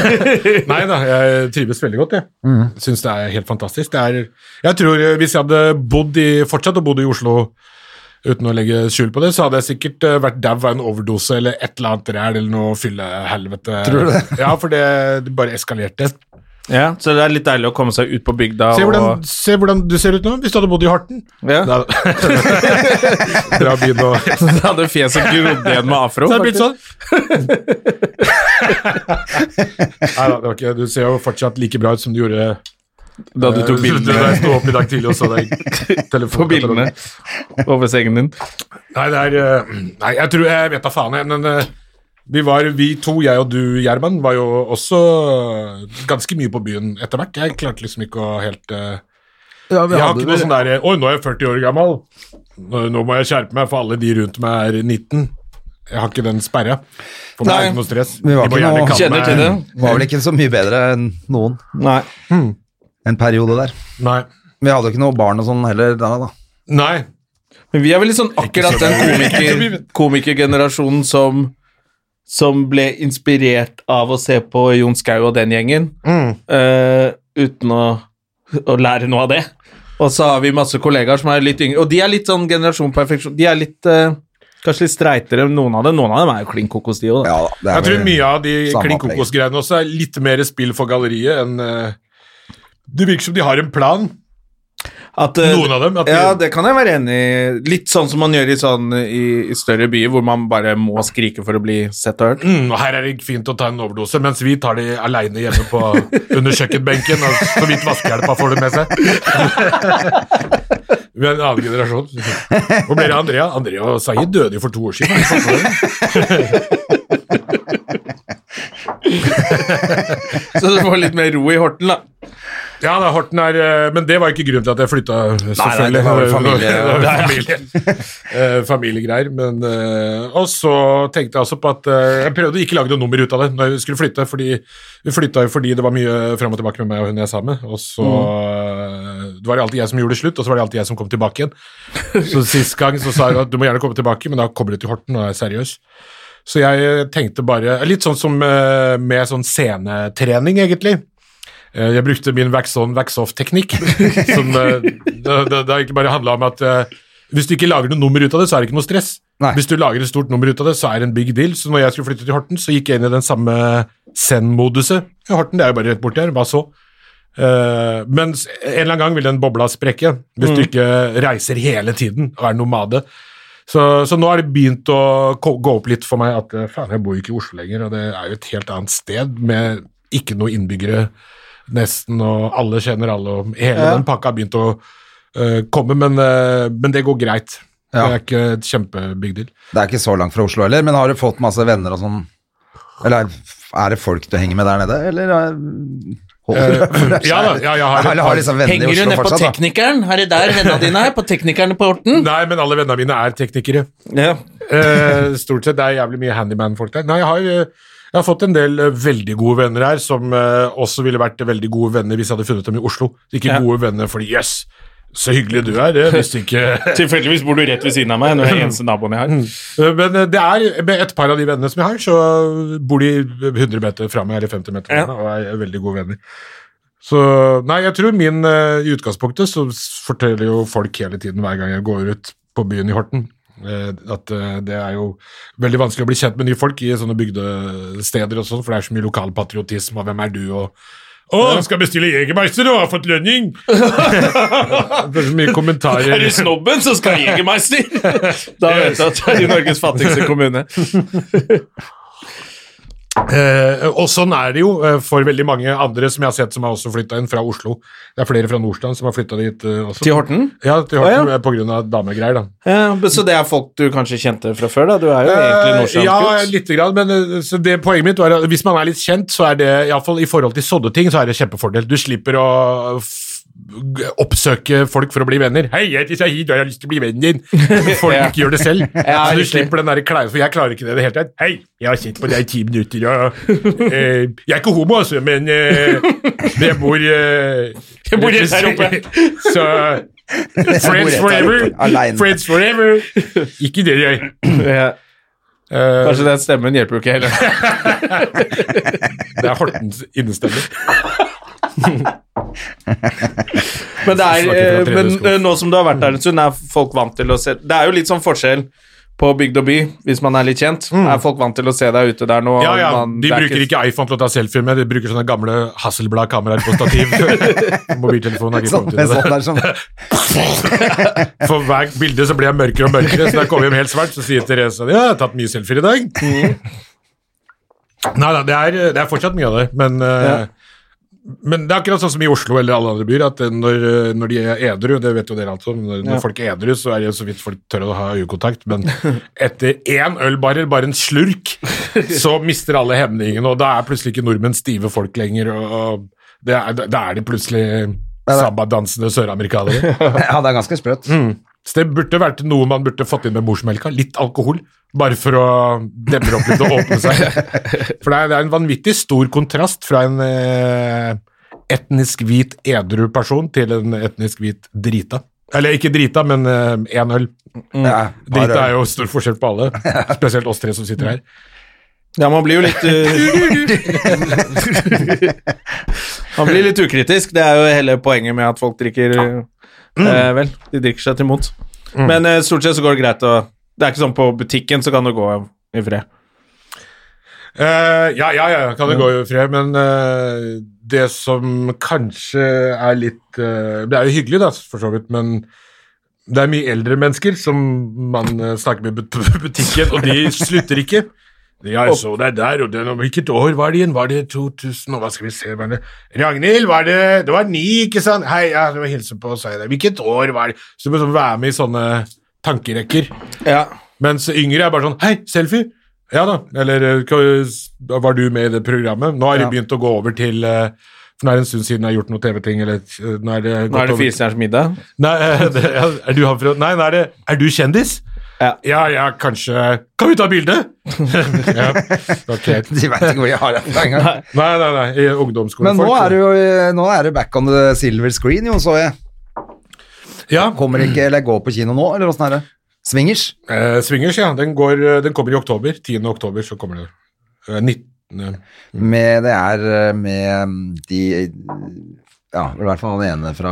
[laughs] Nei da, jeg trives veldig godt, jeg. Mm. Syns det er helt fantastisk. Det er, jeg tror eh, hvis jeg hadde bodd i, fortsatt å bo i Oslo uten å legge skjul på det, så hadde jeg sikkert eh, vært dau av en overdose eller et eller annet ræl eller noe fyllehelvete. Tror du det? Ja, for det, det bare eskalerte. Ja, så det er litt deilig å komme seg ut på bygda Se hvordan, og se hvordan du ser ut nå, hvis du hadde bodd i Horten. ja. Da, dra byen og Så [laughs] da hadde fjeset grodd igjen med afro. [laughs] Så det er blitt faktisk. sånn. [laughs] Nei da, det var ikke Du ser jo fortsatt like bra ut som du gjorde Da du tok eh, da bildene jeg sto opp i dag tidlig og så deg [laughs] på bildene over sengen din. Nei, det er eh, Nei, jeg tror Jeg vet da faen, jeg, men eh, vi var, vi to, jeg og du, Gjerman, var jo også ganske mye på byen etter hvert. Jeg klarte liksom ikke å helt eh, Jeg har ikke noe sånn der Oi, nå er jeg 40 år gammel. Nå, nå må jeg skjerpe meg, for alle de rundt meg er 19. Jeg har ikke den sperra. For meg er Nei. det ikke noe stress. Vi var De ikke må gjerne noe- kalle Kjenner meg- til det. Var vel ikke så mye bedre enn noen Nei. en periode der. Nei. Vi hadde jo ikke noe barn og sånn heller da, da. Nei. Men vi er vel litt sånn akkurat den komiker, komikergenerasjonen som som ble inspirert av å se på Jon Skau og den gjengen, eh, uten å, å lære noe av det. Og så har vi masse kollegaer som er litt yngre, og de er litt sånn generasjon perfeksjon. De er litt eh, Kanskje litt streitere enn noen av dem. Noen av dem er jo klin kokos, de òg. Ja, da det er Jeg tror vel- mye av de samme klin kokos-greiene også er litt mer spill for galleriet enn eh, Det virker som de har en plan, noen av dem. At de, eh, Ja, det kan jeg være enig i. Litt sånn som man gjør i, sånn, i, i større byer, hvor man bare må skrike for å bli sett og hørt. [laughs] mm, og her er det fint å ta en overdose, mens vi tar de aleine hjemme på, under kjøkkenbenken, og så vidt vaskehjelpa får det med seg. [laughs] Vi er en annen generasjon. Hvor ble det av Andrea? Andrea og Sayid døde jo for to år siden. Så du får litt mer ro i Horten, da. Ja, da, Horten er, eh, men det var ikke grunnen til at jeg flytta, selvfølgelig. det var vel familie- [laughs] Det var vel familie. [laughs] Eh, familiegreier. Men, eh, og så tenkte jeg også på at eh, jeg prøvde å ikke lage noe nummer ut av det når vi skulle flytte, fordi vi flytta jo fordi det var mye fram og tilbake med meg og hun jeg er sammen med. Og så Mm. eh, det var det alltid jeg som gjorde det slutt, og så var det alltid jeg som kom tilbake igjen. Så sist gang så sa hun at du må gjerne komme tilbake, men da kommer du til Horten og er seriøs. Så jeg eh, tenkte bare Litt sånn som eh, med sånn scenetrening, egentlig. Eh, Jeg brukte min wax-on, wax-off-teknikk. som, eh, det- Det det har egentlig bare handla om at eh, hvis du ikke lager noe nummer ut av det, så er det ikke noe stress. Nei. Hvis du lager et stort nummer ut av det, så er det en big deal. Så når jeg skulle flytte til Horten, så gikk jeg inn i den samme Zen-moduset. Ja, Horten det er jo bare rett borti her, hva så? Eh, men s- en eller annen gang vil den bobla sprekke, hvis du ikke reiser hele tiden og er nomade. Så, så nå har det begynt å ko- gå opp litt for meg at eh, faen, jeg bor jo ikke i Oslo lenger, og det er jo et helt annet sted med ikke noe innbyggere nesten, og alle kjenner alle, og hele den pakka har begynt å eh, komme, men, eh, men det går greit. Ja. Det er ikke et kjempebig [laughs] deal. Det er ikke så langt fra Oslo heller, men har du fått masse venner og sånn? Eller er det folk du henger med der nede, eller er- Holder du deg for deg ja da, selv? ja, jeg har- [laughs] Eller har liksom venner i Eh, Henger du Oslo ned på fortsatt, da? teknikeren? Er det der vennene dine er? På teknikerne på Horten? Nei, men alle vennene mine er teknikere. Ja. Eh, stort sett. Det er jævlig mye handyman-folk der. Nei, jeg har, eh, jeg har fått en del eh, veldig gode venner her, som eh, også ville vært veldig gode venner hvis jeg hadde funnet dem i Oslo. Ikke Ja. gode venner fordi jøss, så hyggelig du er. Det visste ikke [laughs] Tilfeldigvis bor du rett ved siden av meg. Når jeg er eneste naboen jeg har. Men eh, det er med et par av de vennene som jeg har, så bor de 100 meter fra meg, eller 50 meter fra Ja. meg, og er veldig gode venner. Så nei, jeg tror min eh, I utgangspunktet så s- forteller jo folk hele tiden hver gang jeg går ut på byen i Horten. eh, At eh, det er jo veldig vanskelig å bli kjent med nye folk i sånne bygdesteder og sånn, for det er så mye lokalpatriotisme, og hvem er du, og Å, skal bestille Jegermeister og har fått lønning! [laughs] det er så mye [laughs] kommentarer. Er du snobben, så skal jeg Jegermeister! [laughs] Da vet jeg at du er i Norges fattigste kommune. Eh, og sånn er det jo eh, for veldig mange andre som jeg har sett som har også flytta inn fra Oslo. Det er flere fra Nordstrand som har flytta dit eh, også. Til Horten? Ja, til Å, Horten, ja. eh, på grunn av damegreier, da. Ja, men så det er folk du kanskje kjente fra før, da? Du er jo egentlig Eh, ja, nordstrandsgutt. lite grann, men eh, så det, poenget mitt var at hvis man er litt kjent, så er det iallfall i forhold til sånne ting, så er det kjempefordel. Du slipper å f g- oppsøke folk for å bli venner. 'Hei, jeg heter Sahid, og jeg har lyst til å bli vennen [laughs] din.' Men folk Ja. ikke gjør det selv. [laughs] Ja, så du riktig. slipper den der kleine For jeg klarer ikke det i det hele tatt. 'Hei, jeg har sett på deg i ti minutter, og eh, Jeg er ikke homo, altså, men eh, men jeg bor eh, [laughs] Jeg bor rett her oppe. [laughs] Så Friends her forever. oppe, alene. Friends forever. Ikke det, jeg. Ja. Eh, Kanskje den stemmen hjelper jo ikke heller. Det er Hortens innestemme. [laughs] Men, det er, Snakker fra eh, men tredje skog. eh, nå som du har vært der en stund, er folk vant til å se Det er jo litt sånn forskjell på bygd og by, hvis man er litt kjent. Er folk vant til å se deg ute der nå? Ja, ja, man- De det er bruker ikke iPhone til å ta selfie med, de bruker sånne gamle Hasselblad-kameraer på stativ. [laughs] Mobiltelefonen har ikke Sånn, kommet men til sånn det. der som For hver bilde så blir jeg mørkere og mørkere, så da kommer jeg hjem helt svart, så sier Therese sånn, ja, jeg har tatt mye selfier i dag. Nei da, det, er- det er fortsatt mye av det, men eh, Men det er akkurat sånn som i Oslo eller alle andre byer, at eh, når, eh, når de er edru, det vet jo dere alt om, når, når folk er edru, så er det jo så vidt folk tør å ha øyekontakt, men etter én øl bare, bare en slurk, så mister alle hemningene, og da er plutselig ikke nordmenn stive folk lenger, og, og det er, da er de plutselig sambadansende søramerikanere. Ja, det er ganske sprøtt. Mm, Så det burde vært noe man burde fått inn med morsmelka. Litt alkohol, bare for å demre opp litt og åpne seg. For det er, det er en vanvittig stor kontrast fra en eh, etnisk hvit edru person til en etnisk hvit drita. Eller ikke drita, men én øl. mm. Ja, bare- Drita er jo stor forskjell på alle, spesielt oss tre som sitter her. Ja, man blir jo litt [laughs] eh, Man blir litt ukritisk. Det er jo hele poenget med at folk drikker eh, Vel, de drikker seg til mot. Men eh, stort sett så går det greit å Det er ikke sånn på butikken, så kan du gå i fred. Eh, ja, ja, ja, kan det gå i fred, men eh, det som kanskje er litt eh, Det er jo hyggelig, da, for så vidt, men det er mye eldre mennesker som man eh, snakker med på [laughs] butikken, og de slutter ikke. Ja, jeg så deg der, og den, om hvilket år var det igjen? Var det 2000, og hva skal vi se var det? Ragnhild, var det Det var ni, ikke sant? Hei, ja, det var hilse på, sa jeg deg. Hvilket år var det? Så du må sånn være med i sånne tankerekker. Ja. Mens yngre er bare sånn Hei, selfie! Ja da. Eller eh, hva- var du med i det programmet? Nå har de begynt å gå over til eh, For nå er det en stund siden jeg har gjort noe TV-ting, eller eh, nå er det Nå er det Fire stjerners middag. Nei, eh, [laughs] det, ja, er du han fra Nei, nå er det Er du kjendis? Ja. ja, ja, kanskje Kan vi ta bilde? [laughs] ja, ok. [laughs] De vet ikke hvor de har det fra engang. Nei, nei, nei. i Ungdomsskolefolk. Men nå er det jo nå er det back on the silver screen, jo, så jeg. ja. Kommer ikke, eller går på kino nå, eller åssen er det? Swingers? Eh, Swingers, ja. Den, går, eh, den kommer i oktober. 10. oktober så kommer det. Eh, 19. Med, det er eh, med mm, de Ja, i hvert fall han ene fra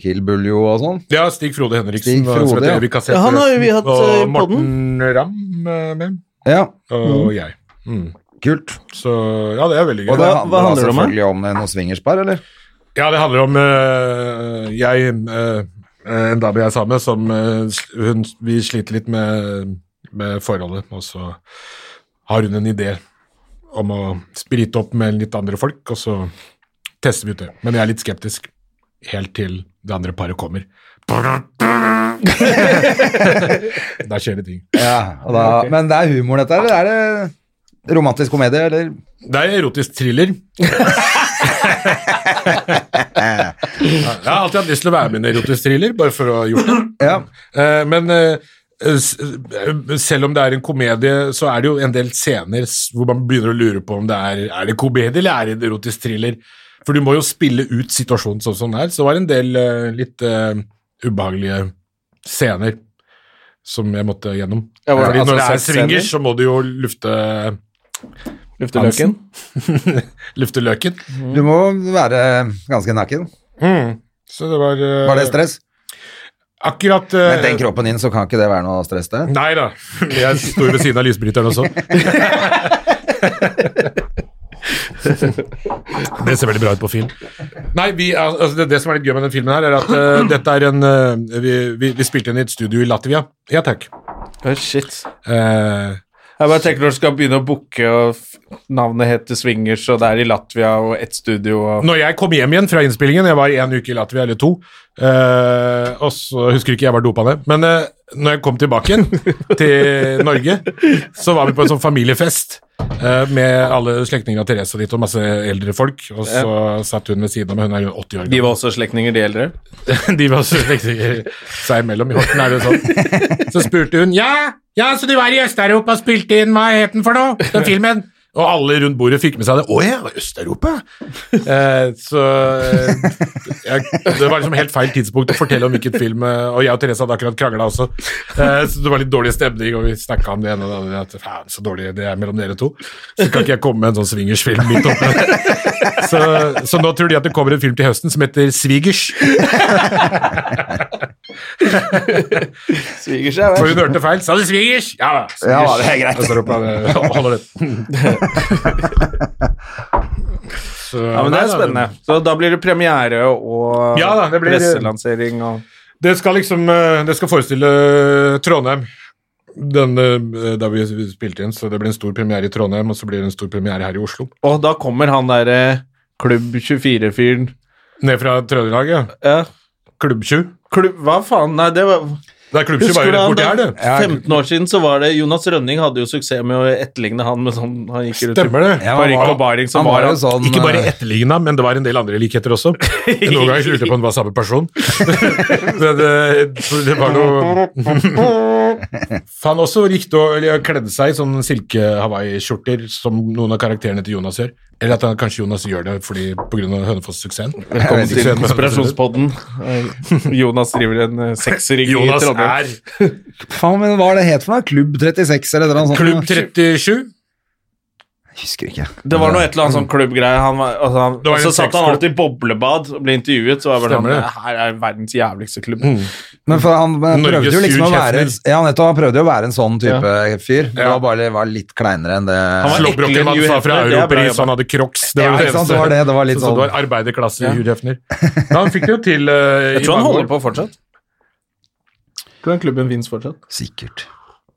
Kill Buljo og sånn. Ja, Stig Frode Henriksen. Stig Frode, som heter ja. Evy Kassett Ja, han har jo vi hatt, eh, Og i Morten Ramm eh, med. Ja, Og Mm. jeg. Mm. kult. Så ja, det er veldig gøy. Og det Hva- hva handler det om, da? selvfølgelig om, eh, noe swingerspar, eller? Ja, det handler om eh, jeg eh, En dame jeg er sammen med, som eh, s- hun, Vi sliter litt med, med forholdet, og så har hun en idé om å sprite opp med litt andre folk, og så tester vi ut det. Men jeg er litt skeptisk helt til det andre paret kommer. [laughs] Der skjer det ting. Ja, og da, Men det er humor, dette, eller er det romantisk komedie, eller? Det er erotisk thriller. Jeg har alltid hatt lyst til å være med i en erotisk thriller, bare for å ha gjort det. Ja. Eh, Men eh, s- eh, selv om det er en komedie, så er det jo en del scener s- hvor man begynner å lure på om det er, er det komedie eller er det en erotisk thriller. For du må jo spille ut situasjonen sånn som den er. Så var det en del eh, litt eh, ubehagelige scener som jeg måtte gjennom. Ja, var det Fordi altså når det er sexscener? swingers, så må du jo lufte, Lufteløken. [laughs] lufte løken. Du må være ganske naken. Så det var, eh, Var det stress? Akkurat eh, Med den kroppen din, så kan ikke det være noe stress, det. Nei da. Jeg står ved siden av lysbryteren også. Det ser veldig bra ut på film. Nei, vi, al- altså, det, det som er litt gøy med den filmen her, er at eh, dette er en eh, vi, vi, vi spilte inn i et studio i Latvia. Ja takk. Å, shit. Eh, Jeg bare tenker når du skal begynne å booke, og f- navnet heter Swingers, og det er i Latvia, og ett studio og når jeg kom hjem igjen fra innspillingen, jeg var en uke i Latvia, eller to, eh, og så husker ikke jeg var dopa ned, men eh, når jeg kom tilbake igjen til Norge, så var vi på en sånn familiefest eh, med alle slektningene av Therese og ditt, og masse eldre folk, og så satt hun ved siden av meg, hun er jo 80 år De gammel. var også slektninger, de eldre. [laughs] De var også slektninger seg imellom, i Horten er det sånn. Så spurte hun, ja, ja, så du var i Østeuropa og spilte inn, hva het den for noe, [laughs] den filmen? Og alle rundt bordet fikk med seg det. Å ja, Øst-Europa! Eh, så eh, jeg, Det var liksom helt feil tidspunkt å fortelle om hvilken film eh, Og jeg og Therese hadde akkurat krangla også, eh, så det var litt dårlig stemning, og vi snakka om det ene og det andre. At faen, så dårlig det er mellom dere to. Så kan ikke jeg komme med en sånn swingersfilm midt [laughs] oppe. Så, så nå tror de at det kommer en film til høsten som heter Svigers. Swingers er For hun hørte feil. Sa du svigers? Ja da. Svigers. Ja, det er greit. Og så roper han, eh, holder det. Så, Ja, men Det nei er da, spennende. Så da blir det premiere og Ja da, det blir- presselansering og Det skal liksom eh, Det skal forestille eh, Trondheim. Den, eh, der vi spilte inn, så det blir en stor premiere i Trondheim, og så blir det en stor premiere her i Oslo. Og da kommer han derre Klubb 24-fyren. Ned fra Trøndelag, ja. Ja. Klubbtjuv. Klubb, hva faen? Nei, det var Det er klubbtjuv bare rett borti her, da? det. 15 år siden så var det Jonas Rønning hadde jo suksess med å etterligne han med sånn Han gikk rundt Stemmer det. Ja, Parykk han og baring som han var var jo han. sånn Ikke bare eh, etterligna, men det var en del andre likheter også. Noen ganger lurte jeg på om det var samme person. [laughs] Men det, så det var [laughs] noe Han også gikk da, eller kledde seg i sånne silke-Hawaii-skjorter som noen av karakterene til Jonas gjør. Eller at han, kanskje Jonas gjør det fordi pga. Hønefoss-suksessen. Velkommen Jeg vet ikke til hvem- konspirasjonspodden. [laughs] Eh, Jonas driver en eh, sexring i Jonas Trondheim. er Faen, men hva er det het for noe? Klubb 36 eller noe sånt? [laughs] klubb 37. Jeg husker ikke. Det var noe et eller annet sånn klubbgreie. Han var, altså, han, Det var og så en satt han sexklubb. alltid i boblebad og ble intervjuet. Så var det Stemmer sånn, det. her er verdens jævligste klubb. Men for han eh, Norges prøvde jo liksom å Hugh være Hefner. Ja, nettopp, han prøvde jo å være en sånn type fyr. Det var bare var litt kleinere enn det var Slåbroken ekkel, han Hugh sa fra Hefner, det er bra Europris, jobba. han hadde crocs. Ja, ikke sant, det var det, det var litt så, så det sånn- var arbeiderklasse Hugh Hefner. Ja, han fikk det jo til eh, i Jeg tror han mange år. holder på fortsatt. Tror den klubben finnes fortsatt. Sikkert.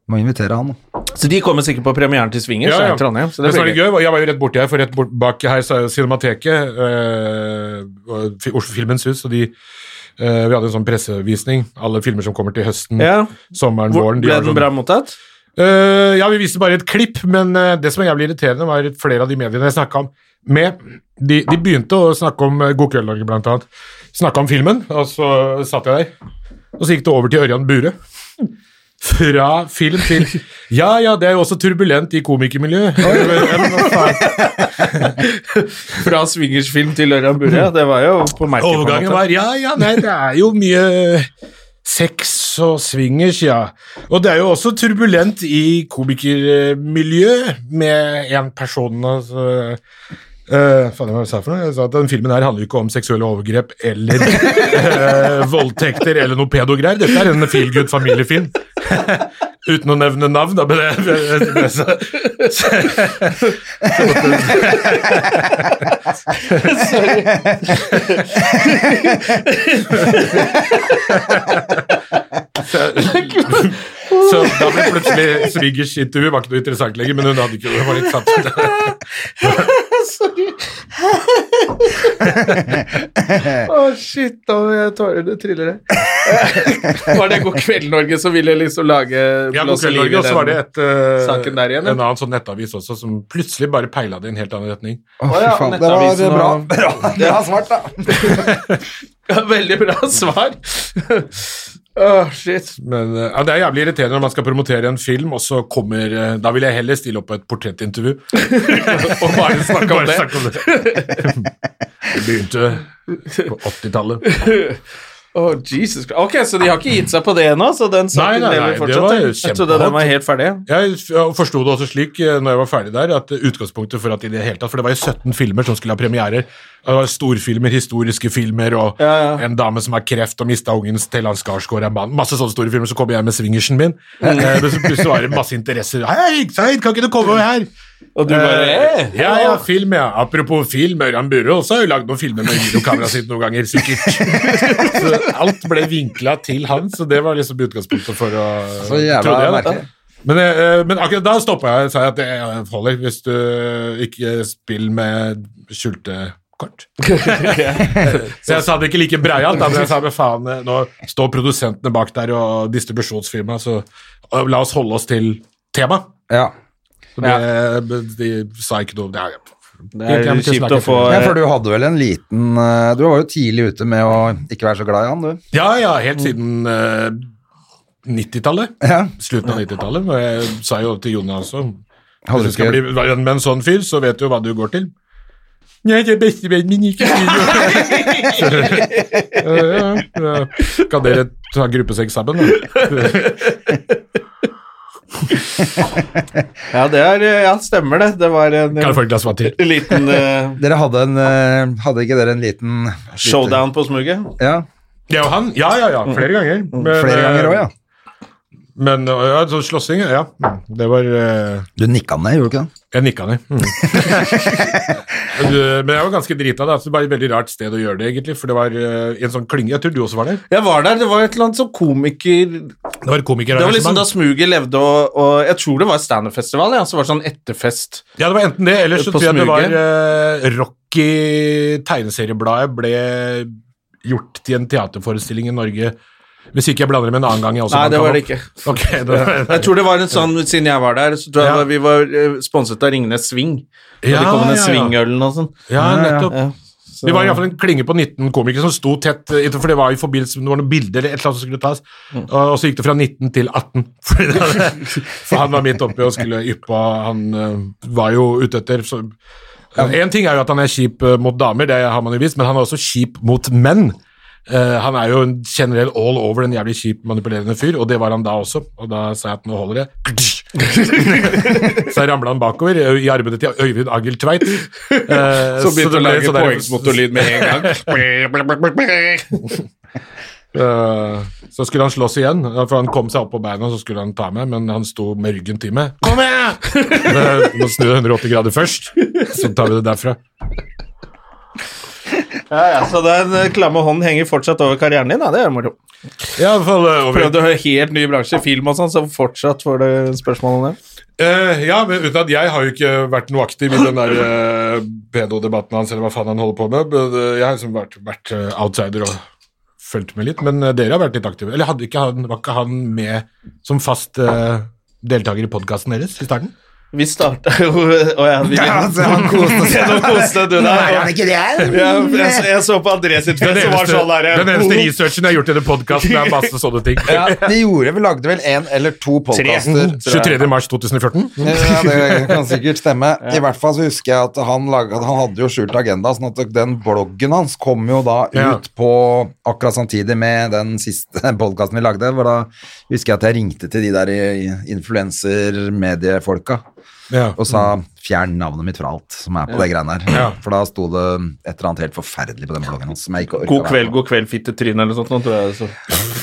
Må invitere han. Så de kommer sikkert på premieren til Swingers Ja, her ja. i Trondheim. Så Men det så er blir det gøy. gøy, og jeg var jo rett borti her, for rett bort bak her så er jo Cinemateket, eh, og Fi- Oslo Filmens Hus, og de eh, Vi hadde en sånn pressevisning, alle filmer som kommer til høsten, Ja. sommeren, Hvor, våren. de ble har den sånn- bra mottatt? Eh, ja, vi viste bare et klipp, men eh, det som var jævlig irriterende, var at flere av de mediene jeg snakka om med de, de begynte å snakke om eh, God kveld, Norge, blant annet. Snakka om filmen, og så satt jeg der. Og så gikk det over til Ørjan Bure. Fra film [laughs] til Ja ja, det er jo også turbulent i komikermiljøet. Ja, men hva faen? Fra swingersfilm til Ørjan Burre. Det var jo på merket. på en Overgangen måte. var Ja, ja, nei, det er jo mye sex og swingers, ja. Og det er jo også turbulent i komikermiljøet med én person altså, eh, faen, hva var det jeg sa for noe? Jeg sa at den filmen her handler jo ikke om seksuelle overgrep eller [laughs] eh, voldtekter eller noe pedogreier. Dette er en feel good familiefilm. [laughs] Uten å nevne navn, da. Men det, det, det, så, så da ble plutselig svigers intervju var ikke noe interessant lenger, men hun hadde ikke det. var litt sant. Å, shit, da har jeg tårer det triller her. [laughs] Var det God kveld, Norge som ville liksom lage Ja, God blåse kveld, liv i Norge. Og så den? var det et, eh, saken der igjen, ja. en annen sånn nettavis også, som plutselig bare peila det i en helt annen retning. Å, Å ja, fy faen. Det Nettavisen var bra, og- [laughs] bra, bra svart, da. Ja, [laughs] Veldig bra svar. [laughs] Åh, shit. Men eh, ja, Det er jævlig irriterende når man skal promotere en film, og så kommer eh, Da vil jeg heller stille opp på et [laughs] portrettintervju. og bare snakke om det. [laughs] det begynte på 80-tallet. Åh, Jesus Christ. Ok, så de har ikke gitt seg på det ennå, så den saken Nei, nei, nei, lever det fortsatt? var jo eller? Jeg trodde den var helt ferdig. Jeg f- forsto det også slik eh, når jeg var ferdig der, at utgangspunktet for at i det hele tatt For det var jo 17 filmer som skulle ha premierer. Det var storfilmer, historiske filmer, og Ja, ja. en dame som har kreft og mista ungen til han Skarsgård er mann. Masse sånne store filmer. Så kommer jeg med swingersen min. Eh, Men så plutselig var det masse interesser. Hei, Seid, kan ikke du komme over her? Og du bare Eh, eh, ja, ja, film, ja. Apropos film, Ørjan Burre også har jo lagd noen filmer med videokameraet sitt noen ganger, [laughs] sikkert. Så alt ble vinkla til han, så det var liksom utgangspunktet for å Så jævla trodde jeg, da. merkelig. Men, eh, men akkurat da stoppa jeg og sa at det holder hvis du eh, ikke spiller med [laughs] skjulte kort. så jeg sa det ikke like breialt, da, men jeg sa men faen, eh, nå står produsentene bak der og distribusjonsfirmaet, så eh, la oss holde oss til tema. Ja. Så det, men de sa ikke noe om det. Det er kjipt å få ja, for du hadde vel en liten eh, Du var jo tidlig ute med å ikke være så glad i han, du. Ja, ja, helt siden eh, 90-tallet. Ja. Slutten av 90-tallet. Og jeg sa jo til Jonah også Hadde Hvis du du skal ikke bli venn med en sånn fyr, så vet du hva du går til. Nei, det er bestevennen min ikke [laughs] video. Kan dere ta gruppesex sammen? Da? Ja, det er, eh, ja, stemmer det. Det var en Kan jeg eh, få et glass vann til? [laughs] liten eh, Dere hadde en eh, Hadde ikke dere en liten showdown på smuget. Ja, Det er jo han. Ja, ja, ja. Flere ganger. Men, flere ganger òg, eh, ja. Men eh, ja, så slåssing, ja. Det var eh, Du nikka ned, gjorde du ikke det? Jeg nikka ned. Mm. [laughs] Men du- men jeg var ganske drita, da. Så det var et veldig rart sted å gjøre det, egentlig. For det var eh, i en sånn klynge. Jeg tror du også var der. Jeg var der, det var et eller annet sånn komiker... Det var et Det var liksom komikerarrangement. da smuget levde, og, og jeg tror det var standup-festival, ja, så var det sånn etterfest. ja, det var enten det, eller så På tror jeg det var smuget. eh, Rocky Tegneseriebladet ble gjort til en teaterforestilling i Norge. Hvis ikke jeg blander det med en annen gang jeg også Nei, kan det ta var det opp. ikke. Ok, det var, Jeg tror det var en sånn, siden jeg var der, så tror jeg Ja. det var- vi var eh, sponset av Ringnes Sving. Og Ja, de kom med ja, ja. svingølen og sånn. ja, nettopp. Ja, så- Vi var iallfall en klinge på 19 komikere som sto tett, eh, for det var i forbindelse med det var noen bilder eller et eller annet som skulle tas, og og så gikk det fra 19 til [laughs] 18. Fordi det- For han var midt oppi og skulle yppe, og han eh, var jo ute etter så, En ting er jo at han er kjip eh, mot damer, det har man jo visst, men han er også kjip mot menn. Eh, han er jo en generell all over en jævlig kjip, manipulerende fyr, og det var han da også. Og da sa jeg at nå holder det. [laughs] så ramla han bakover eh, i armene til Øyvind Agil [laughs] Tveit. Eh, Så begynte å det ble lage sånn der- poengsmotorlyd med en gang. [laughs] Eh, så skulle han slåss igjen, for han kom seg opp på beina, så skulle han ta meg, men han sto med ryggen til meg. Kom [laughs] igjen! Eh, Må snu 180 grader først, så tar vi det derfra. Ja, ja, så den eh, klamme hånden henger fortsatt over karrieren din, da. Det er jo moro. Ja, i hvert fall, eh, over- Prøvde å høre helt nye bransjer, film og sånn, så fortsatt får det spørsmålene. Eh, ja, men uten at jeg har jo ikke vært noe aktiv i den der eh, pedo-debatten hans, eller hva faen han holder på med. Men, eh, jeg har liksom vært, vært eh, outsider og fulgt med litt. Men eh, dere har vært litt aktive. Eller hadde ikke han, var ikke han med som fast eh, deltaker i podkasten deres i starten? Vi starta jo [laughs] Å ja, vi Ja, altså, [laughs] han koste seg. [laughs] Nå koste du deg. ikke det? Ja, jeg, så- jeg så på André sitt fjes, som var sånn der den eneste [laughs] researchen jeg har gjort i denne podkasten, er masse sånne [laughs] ting. Ja, de gjorde vel, lagde vel en eller to podkaster. 23. mars 2014. Ja, det kan sikkert stemme. I hvert fall så husker jeg at han, laget, han hadde jo skjult agenda, sånn at den bloggen hans kom jo da ut Ja. på akkurat samtidig med den siste [laughs] podkasten vi lagde, hvor da husker jeg at jeg ringte til de der i- influenser-mediefolka Ja. og sa fjern navnet mitt fra alt som er på det greiene her. Ja. For da sto det et eller annet helt forferdelig på den bloggen hans som jeg ikke orka God kveld, god kveld, fittetryne, eller sånt, nå tror jeg det så.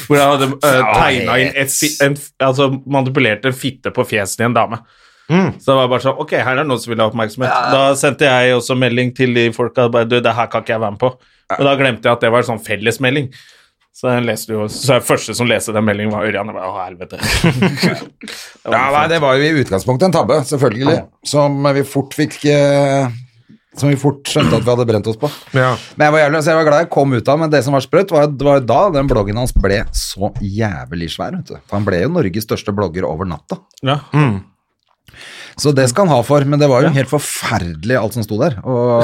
Hvor jeg hadde uh, tegna inn et, fi- en, f- Altså manipulert en fitte på fjeset til en dame. Så det var bare sånn Ok, her er det noen som vil ha oppmerksomhet. Da sendte jeg også melding til de folka bare Du, det her kan ikke jeg være med på. Og da glemte jeg at det var en sånn fellesmelding. Så jeg leste jo Så jeg første som leste den meldingen, var Ørjan. Jeg bare, Å, helvete. Ja, nei, det var jo i utgangspunktet en tabbe, selvfølgelig, som vi fort fikk eh, Som vi fort skjønte at vi hadde brent oss på. Ja. Men jeg var jævlig, så jeg var glad jeg kom ut av, men det som var sprøtt, var, det var jo da den bloggen hans ble så jævlig svær. Vet du. For Han ble jo Norges største blogger over natta. Ja. Så det skal han ha for, men det var jo helt forferdelig alt som sto der. [laughs] Og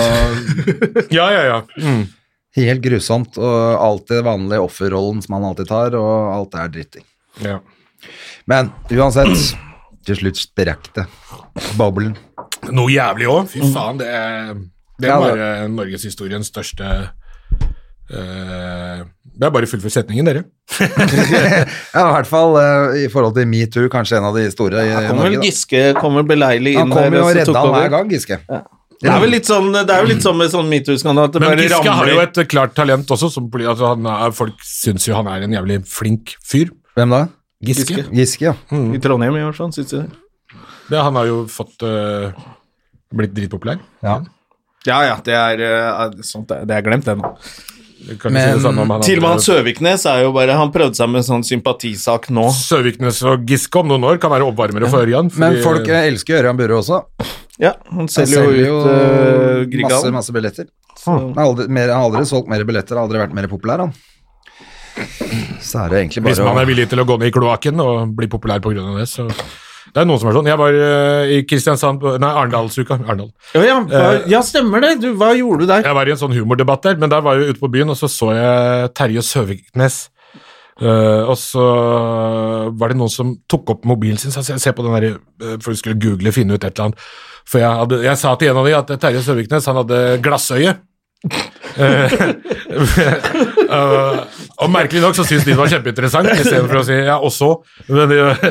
Ja, ja, ja. Mm. helt grusomt, og alt det vanlige offerrollen som han alltid tar, og alt er dritting. ja. Men uansett, til slutt sprakk det. Boblen. Noe jævlig òg. Fy faen, det er, det er Ja, det- bare norgeshistoriens største eh, Det er bare fullfør setningen, dere. Ja, i hvert fall eh, i forhold til metoo, kanskje en av de store i Kommer vel Eh, Norge. da. Giske kommer beleilig inn Han kom der, jo og så tok redda han over. hver gang, Giske. Det er vel litt sånn Det er jo litt sånn med sånn metoo-skandale at det Men bare Giske har ramler jo et klart talent også. Som, poli- altså, han er, folk syns jo han er en jævlig flink fyr. Hvem da? Giske. Giske, ja. i Trondheim i hvert fall, synes jeg. Det, han har jo fått eh, blitt dritpopulær. ja. Ja ja, det er eh, sånt, det er- det er glemt, det nå. Du kan ikke Men si det samme om han Til og med han andre. Søviknes er jo bare Han prøvde seg med en sånn sympatisak nå. Søviknes og Giske om noen år kan være oppvarmere for Ørjan. fordi- Men folk eh, elsker jo Ørjan Burre også. Ja, han Han selger jo ut uh, masse, Grieghallen. masse billetter. Han har aldri, mer, han har aldri solgt mer billetter, har aldri vært mer populær, han. Så er det egentlig Hvis bare å man er villig til å gå ned i kloakken og bli populær på grunn av det, så Det er noen som er sånn. Jeg var eh, i Kristiansand på- Nei, Arendalsuka. Arendal. Ja, ja, hva- ja, stemmer det. Du, hva gjorde du der? Jeg var i en sånn humordebatt der, men der var jeg ute på byen, og så så jeg Terje Søviknes. Eh, og så var det noen som tok opp mobilen sin, så jeg ser på den der, eh, for jeg skulle google finne ut et eller annet. For jeg, hadde, jeg sa til en av de at Terje Søviknes, han hadde glassøye. [laughs] Eh, og merkelig nok så syntes de det var kjempeinteressant, i stedet for å si ja, og så. Men eh,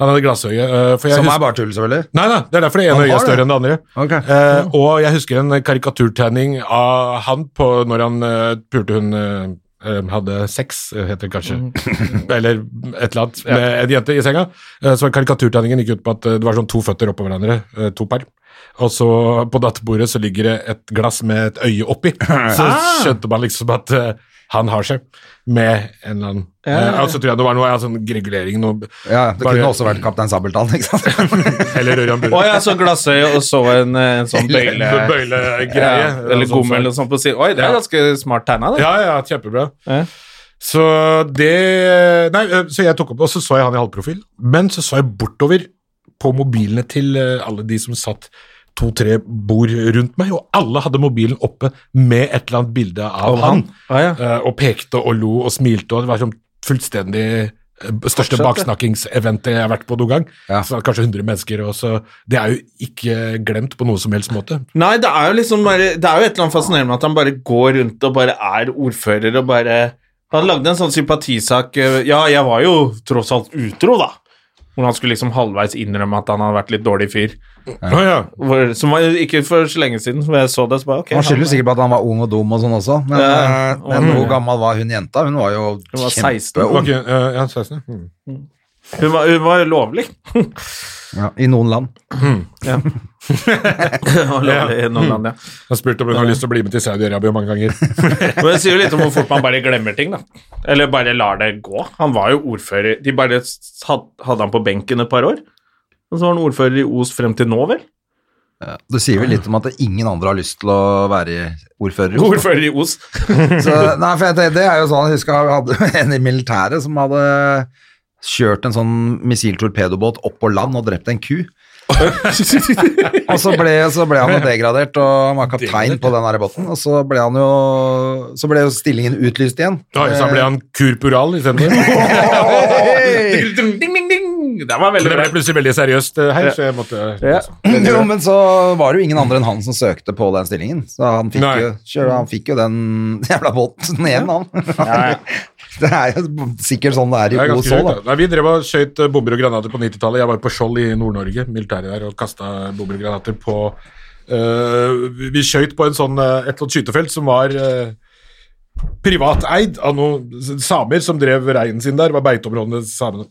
han hadde glassøye. eh, for jeg Som husker- er bare tull, selvfølgelig. Nei, nei, det er derfor det Han ene øyet har er større det. enn det andre. Ok. Eh, og jeg husker en karikaturtegning av han på når han eh, pulte hun eh, eh, hadde sex, eh, heter det kanskje, Mm. [laughs] eller et eller annet, med en jente i senga. Eh, så karikaturtegningen gikk ut på at eh, det var sånn to føtter oppå hverandre, eh, to par. Og så på datterbordet så ligger det et glass med et øye [laughs] oppi. Så Ah! skjønte man liksom at eh, han har seg med en eller annen eh, Og så tror jeg det var noe ja, sånn regulering noe, Ja, det Bare- kunne også vært Kaptein Sabeltann, ikke sant. Eller [laughs] Ørjan Å Burre. ja, så glassøye og så en, eh, en sånn bøyle... Bøylegreie. Ja, eller gommel eller sånn på siden. Oi, det er ganske smart tegna, det. [laughs] Ja, ja, kjempebra. Ja. Så det Nei, ø, så jeg tok opp, og så så jeg han i halvprofil. Men så så jeg bortover på mobilene til ø, alle de som satt to-tre bord rundt meg, og alle hadde mobilen oppe med et eller annet bilde av han. Ah, ja. ø, Og pekte og lo og smilte, og det var sånn fullstendig ø, største baksnakkingeventet jeg har vært på noen gang. Ja. Så det var kanskje 100 mennesker, og så Det er jo ikke glemt på noen som helst måte. Nei, det er jo liksom bare Det er jo et eller annet fascinerende med at han bare går rundt og bare er ordfører og bare Han lagde en sånn sympatisak eh, Ja, jeg var jo tross alt utro, da. Hvor han skulle liksom halvveis innrømme at han hadde vært litt dårlig fyr. Å ja. Hvor, som var ikke for så lenge siden, hvor jeg så det, så bare ok. Han skylder sikkert på at han var ung og dum og sånn også, men, Ja, eh, men hvor gammel var hun jenta? Hun var jo Hun var 16. Det kjempeung var ikke- ø, ja, 16. Mm. Hun var, hun var [laughs] lovlig. ja, i noen land. Hun var lovlig i noen land, ja. Han spurte om hun har lyst til å bli med til Saudi-Arabia mange ganger. Men det sier jo litt om hvor fort man bare glemmer ting, da. Eller bare lar det gå. Han var jo ordfører De bare s- had- hadde han på benken et par år. Og så var han ordfører i Os frem til nå, [laughs] vel? Det sier vel litt om at ingen andre har lyst til å være ordfører. i Oslo. Ordfører i Os. Så, nei, for jeg, tenkte- det er jo sånn, jeg husker jeg hadde [laughs] en i militæret som hadde kjørt en sånn missiltorpedobåt opp på land og drept en ku. og så ble, så ble han jo degradert, og han var kaptein på den der båten. Og så ble, han jo, så ble jo stillingen utlyst igjen. Eh, Da så ble han kurpural [laughs] istedenfor. [laughs] Hei! Ding, ding, ding! Det var Men veldig det ble bra. plutselig veldig seriøst eh, her, så jeg måtte Ja. Jo, men så var det jo ingen andre enn han som søkte på den stillingen. Så han fikk, Nei. jo, kjør, han fikk jo den [laughs] jævla båten igjen, han. [laughs] Det er jo sikkert sånn det er Det i er ganske OSO, altså. sjukt, da. da. Nei, vi drev og skjøt eh, bomber og granater på 90-tallet. Jeg var på Skjold i Nord-Norge, militæret der, og kasta bomber og granater på eh, vi- Vi skjøt på en sånn, eh, et eller annet skytefelt som var eh, privateid av noen s- samer som drev reinen sin der. Det var beiteområdene til samene.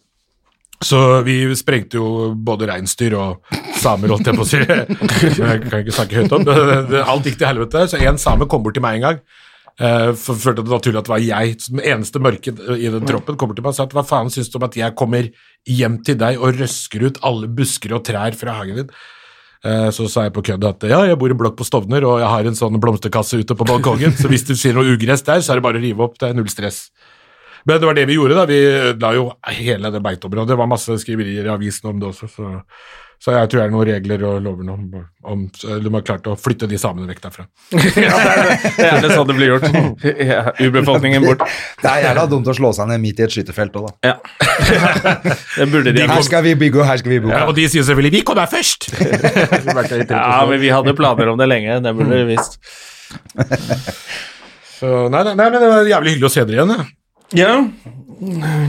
Så vi sprengte jo både reinsdyr og samer, holdt jeg på å si. [laughs] Jeg kan ikke snakke høyt om det. [laughs] det. Alt gikk til helvete. Så en same kom bort til meg en gang. Eh, for følte det naturlig at det var jeg som den eneste mørke i den troppen kommer til meg og sa at hva faen syns du om at jeg kommer hjem til deg og røsker ut alle busker og trær fra hagen din? Eh, Så sa jeg på kødd at ja, jeg bor i en blokk på Stovner, og jeg har en sånn blomsterkasse ute på balkongen, så hvis du ser noe ugress der, så er det bare å rive opp, det er null stress. Men det var det vi gjorde, da. Vi ødela jo hele det beiteområdet. Det var masse skriverier i avisen om det også, så, så jeg tror det er noen regler og lover nå om, om de har klart å flytte de samene vekk derfra. Ja, det er det. Det er det sånn det blir gjort. Ja, Urbefolkningen bort. Det er jævla dumt å slå seg ned midt i et skytefelt òg, da. Ja. Det burde de Her skal vi bygge, og her skal vi bo. Ja, og de sier selvfølgelig 'vi kom der først'! Ja, men vi hadde planer om det lenge. Det burde de visst. så, nei, nei, nei, men det var jævlig hyggelig å se dere igjen. jeg. Ja,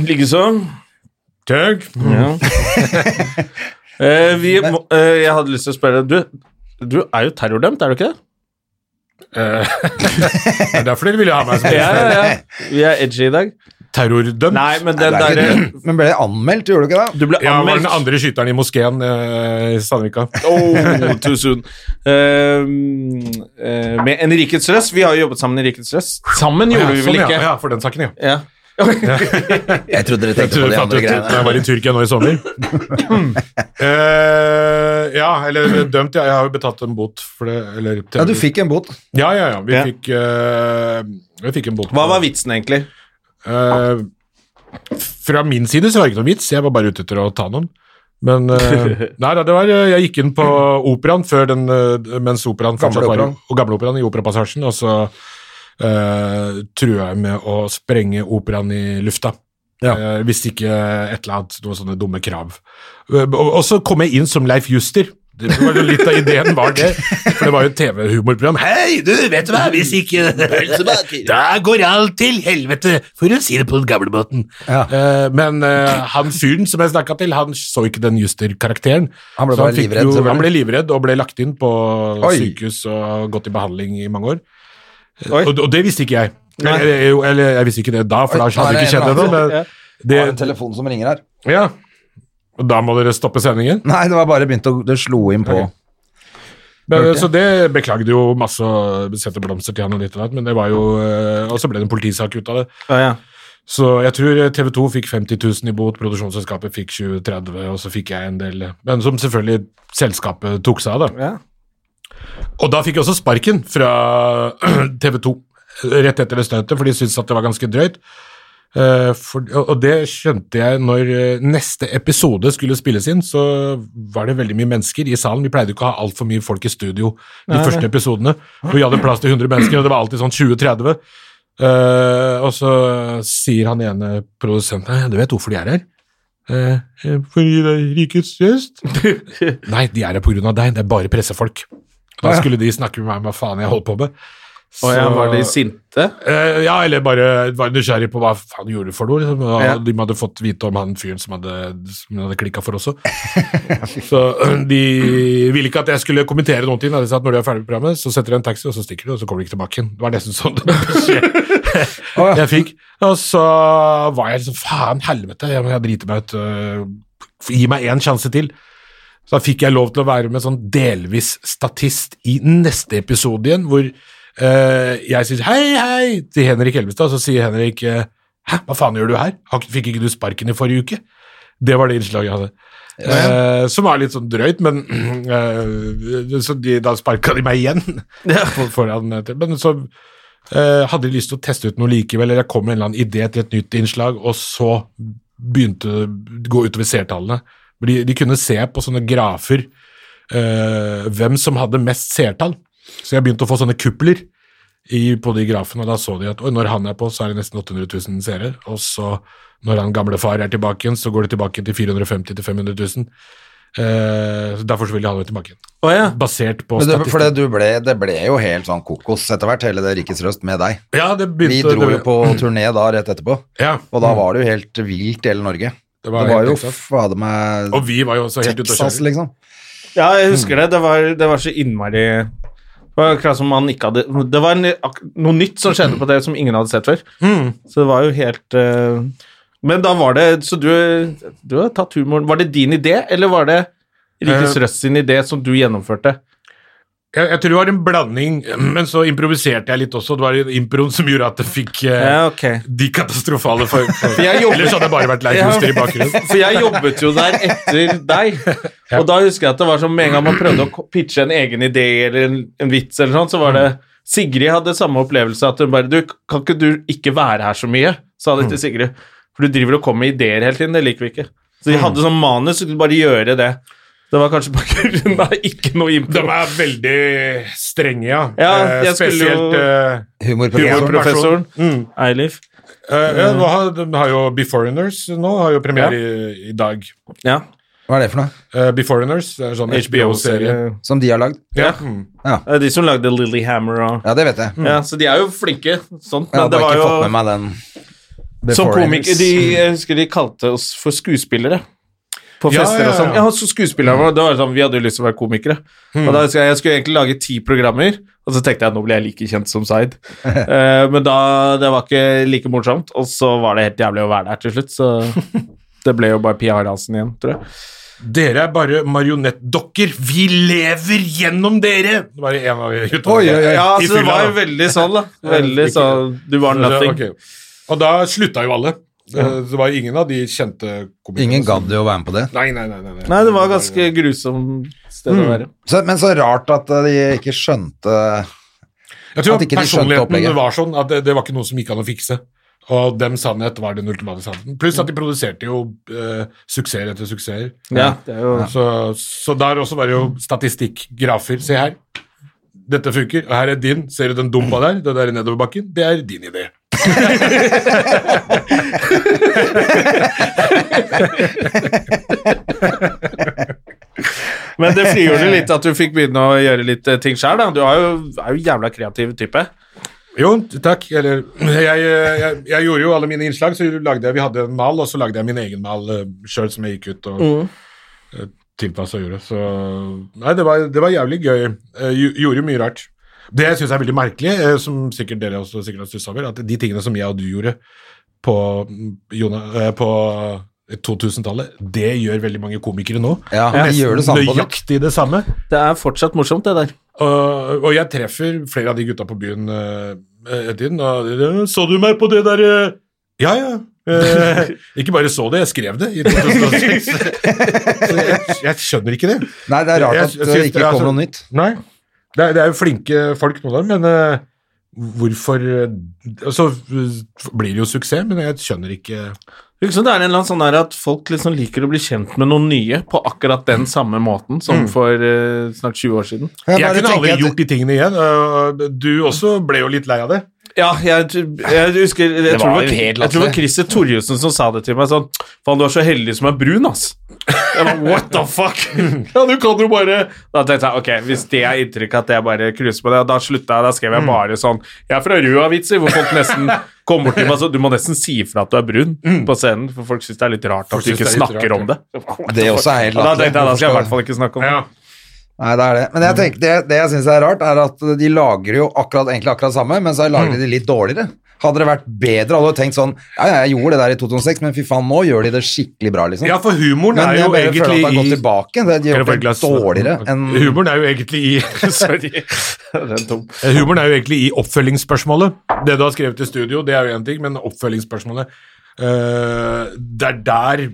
likeså. Tøgg. Ja. Eh, vi må, eh, jeg hadde lyst til å spørre Du, du er jo terrordømt, er du ikke det? Eh, [laughs] det er derfor dere ville ha meg som [laughs] Ja, ja, ja. Vi er edgy i dag. terrordømt. Nei, men den Det er derre ikke- Men ble det anmeldt, gjorde du ikke det? Du ble ja, var den anmeldt. andre skyteren i moskeen eh, i Sandvika. [laughs] Oh, too soon. Eh, eh, med Enrikets Røst. Vi har jo jobbet sammen i Enrikets Røst. Sammen gjorde Ja, vi sånn, vel ja, ikke? ja, for den saken, ja. Ja. Jeg trodde dere Jeg tenkte tror på jeg de fant ut andre da jeg greiene. var i Tyrkia nå i sommer. [laughs] Eh, ja, eller dømt, ja. Jeg har jo betalt en bot for det. Eller, Ja, du fikk en bot. Ja, ja, ja. Vi Ja. fikk, eh, vi fikk en bot. Hva var vitsen, egentlig? Eh, fra min side så var det ikke noe vits, jeg var bare ute etter å ta noen. Men eh, nei, da, det var, eh, jeg gikk inn på operaen før den, eh, mens operaen fortsatt var operaen. og gamle operaen i Operapassasjen, og så eh, trua jeg med å sprenge operaen i lufta. Eh, hvis ikke et eller annet, noen sånne dumme krav. Eh, Og, og så kom jeg inn som Leif Juster. Det var jo Litt av ideen var det, for det var jo et TV-humorprogram. Hei, du, vet du hva, hvis ikke Da går alt til helvete, for å si det på den gamle måten. Ja. Eh, men eh, han fyren som jeg snakka til, han så ikke den Juster-karakteren. Han ble Så bare fikk livredd, Jo, selvfølgelig. han ble livredd og ble lagt inn på Oi. sykehus og gått i behandling i mange år. Oi. Og, og det visste ikke jeg. Nei. Eller, jo, eller jeg visste ikke det da, Oi, for da da er hadde det det ikke en skjedd eller ennå. annen men Det var en det- telefon som ringer her. Ja. Og da må dere stoppe sendingen. Nei, det var bare begynt å Det slo inn på. Men, Hørte jeg. så det beklagde jo masse og sendte blomster til han og ditt og datt, men det var jo eh, Og så ble det en politisak ut av det. Å, ja. Så jeg tror eh, TV 2 fikk 50 000 i bot, produksjonsselskapet fikk 20-30, og så fikk jeg en del eh, Men som selvfølgelig selskapet tok seg av, da. Ja. Og da fikk jeg også sparken fra [clears throat] TV 2 eh, rett etter det støtet, for de syntes at det var ganske drøyt. Eh, for, og og det skjønte jeg når eh, neste episode skulle spilles inn, så var det veldig mye mennesker i salen. Vi pleide jo ikke å ha altfor mye folk i studio de første episodene. For vi hadde plass til 100 mennesker, og det var alltid sånn 20-30. Eh, og så sier han ene produsenten Du vet hvorfor de er her? Eh, eh, fordi det er rikets [laughs] gjest. Nei, de er her på grunn av deg. Det er bare pressefolk. Da skulle de snakke med meg om hva faen jeg holdt på med. Og ja, Så- var de sinte? Eh, ja, eller bare var nysgjerrig på hva faen de gjorde for noe. Liksom. Og Ja. De hadde fått vite om han fyren som hadde, som de hadde klikka for også. så [clears throat] eh, de ville ikke at jeg skulle kommentere noen ting. da. De sa at når de er ferdig med programmet, så setter de en taxi, og så stikker de, og så kommer de ikke tilbake igjen. Det var nesten sånn Å, ja. [laughs] jeg fikk. Og så var jeg liksom faen helvete, jeg, jeg driter meg ut. øh, gi meg én sjanse til. Så da fikk jeg lov til å være med sånn delvis statist i neste episode igjen, hvor øh, jeg sier hei, hei til Henrik Elvestad, så sier Henrik øh, hæ, hva faen gjør du her? Har ikke- Fikk ikke du sparken i forrige uke? Det var det innslaget jeg hadde. Eh, som var litt sånn drøyt, men [clears throat] eh, så de, da sparka de meg igjen. [laughs] For, foran, etter. men så eh, hadde de lyst til å teste ut noe likevel, eller jeg kom med en eller annen idé til et nytt innslag, og så begynte det å gå utover seertallene. For De, de kunne se på sånne grafer eh, hvem som hadde mest seertall. Så jeg begynte å få sånne kupler i, på de grafene, og da så de at oi, når han er på, så er det nesten 800 000 seere. Og så, når han gamle far er tilbake igjen, så går det tilbake til 450 000-500 000. Eh, så derfor så vil de ha det tilbake igjen. Å ja. Basert på Men det, for det, statistikk. du ble, det ble jo helt sånn kokos etter hvert, hele det Rikets Røst med deg. Ja, det Vi begynte dro jo det- på turné da rett etterpå, Ja, og da var det jo helt vilt i hele Norge. det Det var, var, helt jo eksakt. fader meg Og vi var jo også helt ute å Texas, kjøre. liksom. Ja, jeg husker det. Det var, det var så innmari det var akkurat som man ikke hadde Det var en, ak- noe nytt som skjedde på det som ingen hadde sett før. Mm. Så det var jo helt eh, Men da var det Så du, du har tatt humoren Var det din idé, eller var det Rikets Eh, Røst sin idé som du gjennomførte? jeg, jeg tror det var en blanding, men så improviserte jeg litt også. Det var improen som gjorde at det fikk eh, Ja, ok. de katastrofale for, [laughs] for jeg jobbet- Ellers hadde jeg bare vært lei hoster i bakgrunnen. [laughs] For jeg jobbet jo der etter deg, og da husker jeg at det var som med en gang man prøvde å ko- pitche en egen idé eller en, en vits eller sånn, så var det Sigrid hadde samme opplevelse, at hun bare Du, kan ikke du ikke være her så mye? sa det til Sigrid. For du driver og kommer med ideer hele tiden, det liker vi ikke. Så de hadde sånn manus, så kunne du bare gjøre det. Det var kanskje på [laughs] grunn av ikke noe De impro. er veldig strenge, ja. Ja, Eh, jeg skulle jo- Mm. Spesielt eh, Humorprofessoren. Professoren Eilif. eh, ja, nå har, De har jo Beforeigners nå, har jo premiere i, i dag. Ja. Hva er det for noe? Uh, Beforeigners, det er en sånn HBO-serie. Som de har lagd? Ja. Mm. Ja. Det er de som lagde Lillehammer og Ja, det vet jeg. Ja, så de er jo flinke, sånt. Jeg Men hadde det bare var ikke fått med jo meg den. Som komiker, Beforeigners. de, jeg husker de kalte oss for skuespillere. På Ja, fester ja, og sånn. ja. Ja, så skuespillere var det var sånn, Vi hadde jo lyst til å være komikere. Og da husker jeg, jeg skulle egentlig lage ti programmer, og så tenkte jeg nå blir jeg like kjent som Zaid. Eh, men da, det var ikke like morsomt, og så var det helt jævlig å være der til slutt, så det ble jo bare PR-halsen igjen, tror jeg. Dere er bare marionettdokker. Vi lever gjennom dere! Det var en av gutta. Oi, oi, oi. Ja, I så det fylla, var jo da. veldig sånn, da. Veldig Ikke- sånn Du var nothing. Ok. Og da slutta jo alle. Eh, Det var ingen av de kjente komikerne. Ingen som- gadd jo å være med på det. Nei, nei, nei. nei, nei. Nei, det var ganske grusomt Mm. sted Hmm. å være. Så, men så rart at eh, de ikke skjønte Jeg tror at ikke de skjønte opplegget. personligheten var sånn at det, det var ikke noe som gikk an å fikse. Og dem sannhet var den ultimate sannheten. Pluss at de produserte jo eh, suksesser etter suksesser. Ja, det er jo Så, så der også var det jo statistikkgrafer. Se her. Dette funker. Og her er din. Ser du den dumpa der? Det der i nedoverbakken? Det er din idé. Men det frigjorde litt at du fikk begynne å gjøre litt eh, ting sjøl. Du er jo, er jo jævla kreativ type. Jo, takk. Eller jeg, jeg, jeg gjorde jo alle mine innslag, så lagde jeg, vi hadde en mal, og så lagde jeg min egen mal sjøl som jeg gikk ut og mm. tilpassa og gjorde. Så Nei, det var, det var jævlig gøy. Eh, gj- gjorde mye rart. Det jeg syns er veldig merkelig, eh, som sikkert dere også sikkert har stussa over, at de tingene som jeg og du gjorde på, Jona- eh, på 2000-tallet, det gjør veldig mange komikere nå. Ja, de gjør det samme på det. Nøyaktig det samme. Det er fortsatt morsomt, det der. Øh, Og, og jeg treffer flere av de gutta på byen eh, etter tiden. Og de, de, 'Så du meg på det der eh?» Ja, ja. Eh, ikke bare så det, jeg skrev det i [laughs] 2006. så jeg, jeg skjønner ikke det. Nei, det er rart Jeg- at eh, jeg det synes det ikke er kom så- noe nytt. Nei. Det er, det er jo flinke folk nå der, men eh, hvorfor eh, Så eh, blir det jo suksess, men jeg skjønner ikke Ikke sant, Det er en eller annen sånn der at folk liksom liker å bli kjent med noen nye på akkurat den samme måten som for eh, snart 20 år siden. Jeg, bare kunne tenker aldri at- gjort de tingene igjen. og Du også ble jo litt lei av det. Ja, jeg, tr- jeg husker Jeg, Det tror, var det jo var, helt jeg tror det var latterlig. Christer Torjussen som sa det til meg sånn Faen, du er så heldig som er brun, ass. Jeg bare, What the fuck? [laughs] Ja, du kan jo bare Da tenkte jeg ok, hvis det er inntrykket at jeg bare cruiser på det, da slutta jeg. Da skrev jeg bare sånn Jeg er fra Rua-vitser, hvor folk nesten kom bort til meg sånn Du må nesten si ifra at du er brun på scenen, for folk syns det er litt rart Folk at du ikke synes det er litt snakker rart, om det. Det også er helt Og da latterlig. tenkte jeg da skal jeg i hvert fall ikke snakke om det. Nei, det er det. Men jeg tenker, det, det jeg syns er rart, er at de lager jo akkurat, egentlig akkurat samme, men så Mm. lager de det litt dårligere. Hadde det vært bedre, hadde du tenkt sånn Ja, ja, jeg gjorde det der i 2006, men fy faen, nå gjør de det skikkelig bra, liksom. Ja, for humoren men er jeg jo bare føler at det har gått egentlig i tilbake. Det, de Kan gjør jeg få et det glass vann? dårligere enn Humoren er jo egentlig i [laughs] [laughs] Sorry. Den tom. Eh, Humoren er jo egentlig i oppfølgingsspørsmålet. Det du har skrevet i studio, det er jo én ting, men oppfølgingsspørsmålet eh, Det er der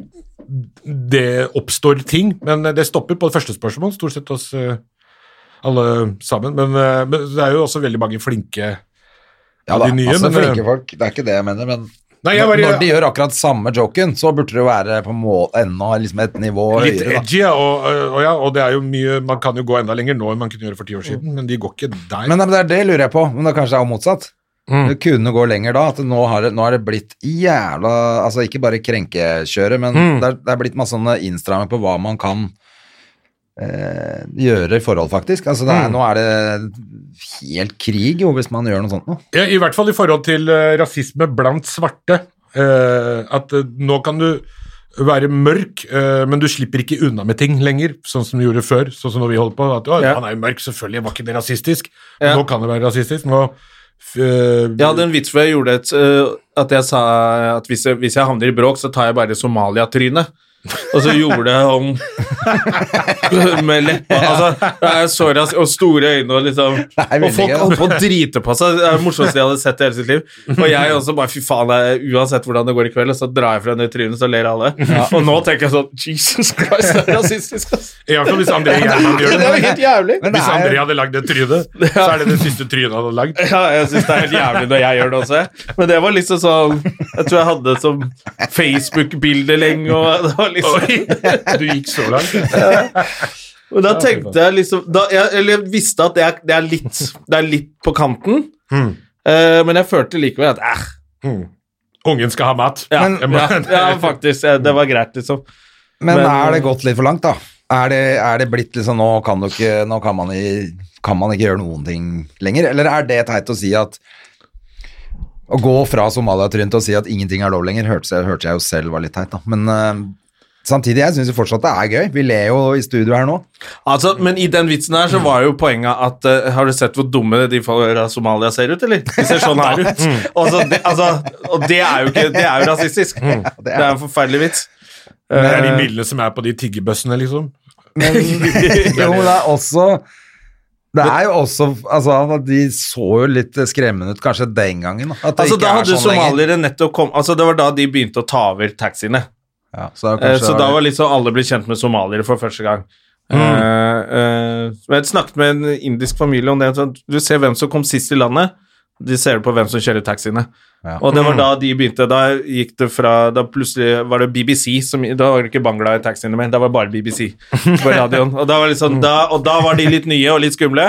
det oppstår ting, men det stopper på det første spørsmålet, stort sett hos eh, alle sammen. Men, eh, men det er jo også veldig mange flinke Ja da, de nye, altså men- flinke folk. Det er ikke det jeg mener, men Nei, jeg var i- når de gjør akkurat samme joken, så burde det jo være på må enda liksom et nivå Litt høyere, da. edgy, ja, og, og, ja, og det er jo mye Man kan jo gå enda lenger nå enn man kunne gjøre for ti år siden, men de går ikke der. Men, nei, men det er det lurer jeg på, men da kanskje det er jo motsatt. Mm. Det kunne gå lenger da, at nå har det, nå har det blitt jævla Altså ikke bare krenkekjøret, men Mm. det, er, det er blitt masse sånne innstramminger på hva man kan eh, gjøre i forhold, faktisk. Altså Mm. det er, nå er det helt krig jo, hvis man gjør noe sånt nå. [laughs] Ja, I hvert fall i forhold til eh, rasisme blant svarte. Eh, at eh, nå kan du være mørk, eh, men du slipper ikke unna med ting lenger, sånn som du gjorde før. sånn som når vi holdt på, at «Å, Ja. Han er jo mørk, selvfølgelig var ikke det rasistisk. Ja. Nå kan det være rasistisk. nå... eh, Jeg hadde en vits hvor jeg eh, gjorde et øh, At jeg sa at hvis jeg, hvis jeg havner i bråk, så tar jeg bare Somalia-trynet. og så gjorde jeg om [laughs] med leppa. Altså, jeg er så rask, og store øyne og liksom er veldig Og folk gøy, da. [laughs] holdt på å drite på seg. Det er det morsomste jeg hadde sett i hele sitt liv. Og jeg også bare fy faen, jeg, uansett hvordan det går i kveld, og så drar jeg fra den i trynet, så ler alle. Og nå tenker jeg sånn Jesus Christ, det er rasistisk, ass. I hvert fall hvis [laughs] André Gjerman gjør Det det. er jo helt jævlig. Men det Hvis er André jo hadde lagd det trynet, så er det det siste trynet han hadde lagd. [laughs] Ja, jeg syns det er helt jævlig når jeg gjør det også. jeg. Men det var liksom sånn Jeg tror jeg hadde det som Facebook-bilde lenge, og det var [laughs] liksom Du gikk så langt. Og da tenkte jeg liksom da, jeg, Eller jeg visste at det er, det er litt Det er litt på kanten, Eh, men jeg følte likevel at eh, Ungen skal ha mat. ja, Men- ja, [laughs] ja, faktisk. eh, Det var greit, liksom. Men Men- eh, er det gått litt for langt, da? Er det, er det blitt liksom Nå kan du ikke Nå kan man, i, kan man ikke gjøre noen ting lenger? Eller er det teit å si at Å gå fra Somalia-trynet til å si at ingenting er lov lenger, hørte jeg, hørte jeg jo selv var litt teit, da. Men eh, samtidig, jeg syns jo fortsatt det er gøy. Vi ler jo i studio her [laughs] nå. Altså, Men i den vitsen her så var jo poenget at eh, Har du sett hvor dumme de fra Somalia ser ut, eller? De ser sånn her ut. Og, så, det, altså, og det er jo ikke Det er jo rasistisk. Det er en forferdelig vits. Det er de bildene som er på de tiggerbøssene, liksom. [laughs] Men Altså, jo, det er også det er jo også Altså, de så jo litt skremmende ut kanskje den gangen. da, At det Altså, ikke da er hadde sånn lenger. somaliere nettopp kom, altså, Det var da de begynte å ta over taxiene. Ja, så, det er Eh, kanskje- Mm. så da var liksom alle ble kjent med somaliere for første gang. Eh, eh, men jeg snakket med en indisk familie om det. så Du ser hvem som kom sist i landet. De ser på hvem som kjører taxiene. Ja. Mm. Og det var da de begynte Da gikk det fra Da plutselig var det BBC som Da var det ikke Bangla i taxiene mer, da var det bare [laughs] BBC på radioen. Og da var, det Mm. liksom, da, og da var de litt nye og litt skumle.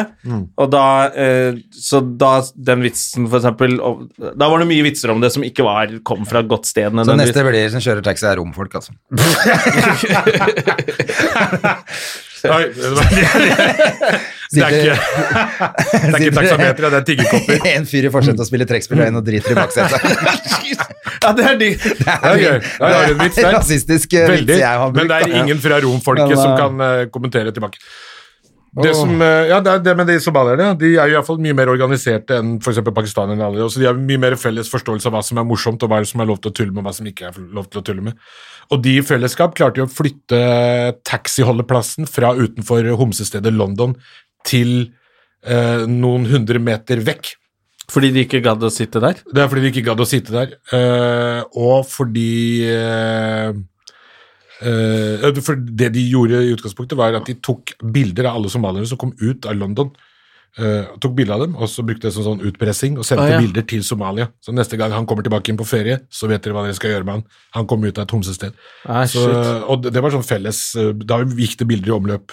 Og da eh, Så da den vitsen, for eksempel og, Da var det mye vitser om det som ikke var kom fra et godt sted. Så nødvendigvis. neste blir som kjører taxi, er romfolk, altså. Oi, det var- [laughs] det er ikke, det er ikke taksameter, det er tiggerkopper. [laughs] En fyr i forsetet og spiller trekkspill og en og driter i [laughs] baksetet. Ja, det er de. Det er gøy. Der har du en vits Det er [laughs] der. rasistisk eh, Veldig, vits jeg har brukt. men det er da. ingen fra romfolket Men, eh, som kan eh, kommentere tilbake. Det som, eh, ja, det er det med de somalierne. De er jo i hvert fall mye mer organiserte enn f.eks. pakistanerne. og alle, Så de har mye mer felles forståelse av hva som er morsomt, og hva som er lov til å tulle med, og hva som ikke er lov til å tulle med. Og de i fellesskap klarte jo å flytte taxiholdeplassen fra utenfor homsestedet London til eh, noen hundre meter vekk. Fordi de ikke gadd å sitte der? Det er fordi de ikke gadd å sitte der, eh, og fordi eh, eh, for Det de gjorde i utgangspunktet, var at de tok bilder av alle somaliere som kom ut av London. eh, tok bilder av dem, og så brukte det som sånn utpressing, og sendte Ah, ja. bilder til Somalia. Så neste gang han kommer tilbake inn på ferie, så vet dere hva dere skal gjøre med han. Han kom ut av et homsested. Ah, Så, og det, det var sånn felles eh, Da gikk det bilder i omløp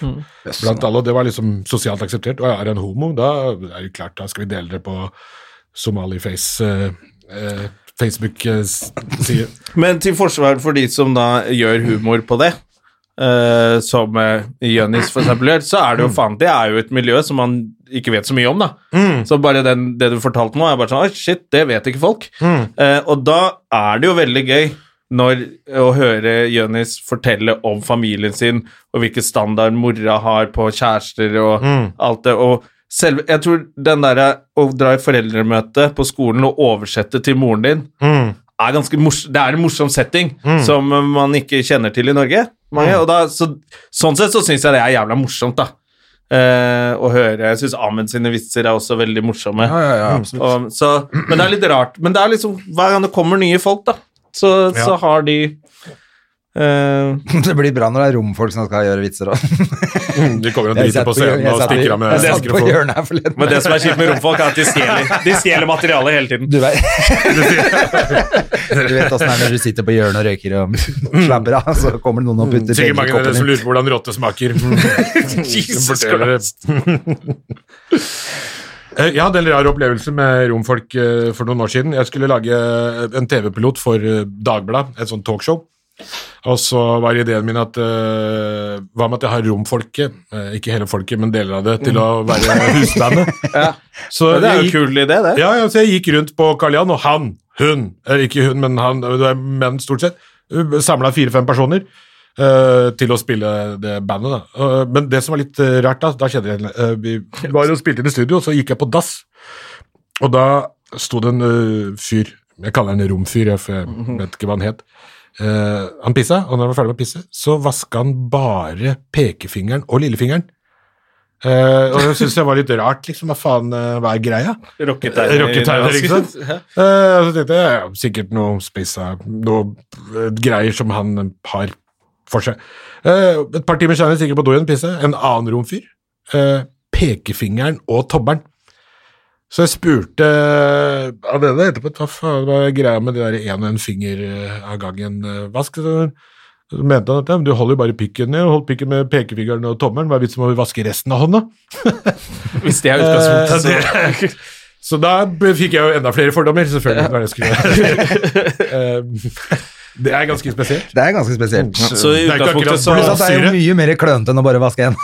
blant alle, og det var liksom sosialt akseptert. Og er det en homo, da er det klart, da skal vi dele det på Somaliface eh, eh, Facebook-side. Men til forsvar for de som da gjør humor på det, eh, som eh, Jonis for eksempel gjør, så er det jo faen Det er jo et miljø som man ikke vet så mye om, da. Mm. Mm, Så bare den, det du fortalte nå, er bare sånn Oi, shit, det vet ikke folk. Eh, og da er det jo veldig gøy når, å høre Jonis fortelle om familien sin, og hvilken standard mora har på kjærester og alt det. og selv, jeg tror den derre å dra i foreldremøte på skolen og oversette til moren din, mm. er ganske mors det er en morsom setting som eh, man ikke kjenner til i Norge. Mange, og da, så, sånn sett så syns jeg det er jævla morsomt, da. Eh, å høre Jeg syns Ahmed sine vitser er også veldig morsomme. [laughs] Ja, ja, ja, absolutt. og, så, men det er litt rart. Men det er liksom hver gang det kommer nye folk, da, så, så har de eh, [laughs] Det blir bra når det er romfolk som skal gjøre vitser òg. De Mm, kommer og driter på scenen og stikker av med Jeg satt på mikrofon. hjørnet her forleden. Men det som er kjipt med romfolk, er at de stjeler, de stjeler materialet hele tiden. Du vet [laughs] [laughs] Du vet åssen det er når du sitter på hjørnet og røyker og slapper av, så kommer det noen og putter Sikkert begge Mm. mange av dere som koppene inn. lurer på hvordan [laughs] rotte smaker. Mm. Jesus Forteller [laughs] det. Eh, Jeg hadde en rar opplevelse med romfolk eh, for noen år siden. Jeg skulle lage eh, en TV-pilot for eh, Dagbladet, et sånt talkshow. Og så var ideen min at eh, hva med at jeg har romfolket, eh, ikke hele folket, men deler av det, til å være [laughs] husbandet. Så Mm. Det er jeg jo en gikk- kul idé, det. ja, ja, så jeg gikk rundt på Karl Johan, og han, hun, eller ikke hun, men han, det er menn stort sett, samla fire-fem personer eh, til å spille det bandet. Da. Eh, men det som var litt eh, rart, da, da skjedde det eh, Vi var og spilte inn i studio, og så gikk jeg på dass, og da sto det en eh, fyr, jeg kaller han romfyr, jeg, for jeg vet ikke hva han het, Eh, han pissa, og når han var ferdig med å pisse, så vaska han bare pekefingeren og lillefingeren. Eh, og det syns jeg var litt rart, liksom. Hva faen, eh, hva er greia? Rocketegner. Rocketegner, ikke sant? Ja. Eh, og så tenkte jeg ja, sikkert noe spissa, noe eh, greier som han har for seg. Eh, et par timer senere sikkert på do igjen pisse, en annen romfyr. eh, pekefingeren og tommelen. Så jeg spurte av denne etterpå hva faen var greia med det der én og en finger eh, av gangen eh, vask. Så så mente han at ja, men du holder jo bare pikken ned, og holdt pikken med pekefingeren og tommelen, hva er vitsen med å vaske resten av hånda? Hvis det er utgangspunktet, så Så da b- fikk jeg jo enda flere fordommer, selvfølgelig. Hva jeg skulle. Eh, det er ganske spesielt. Det er ganske spesielt. Så i Det er utgangspunktet ikke akkurat så bluss, Pluss at det er jo mye mer klønete enn å bare vaske en.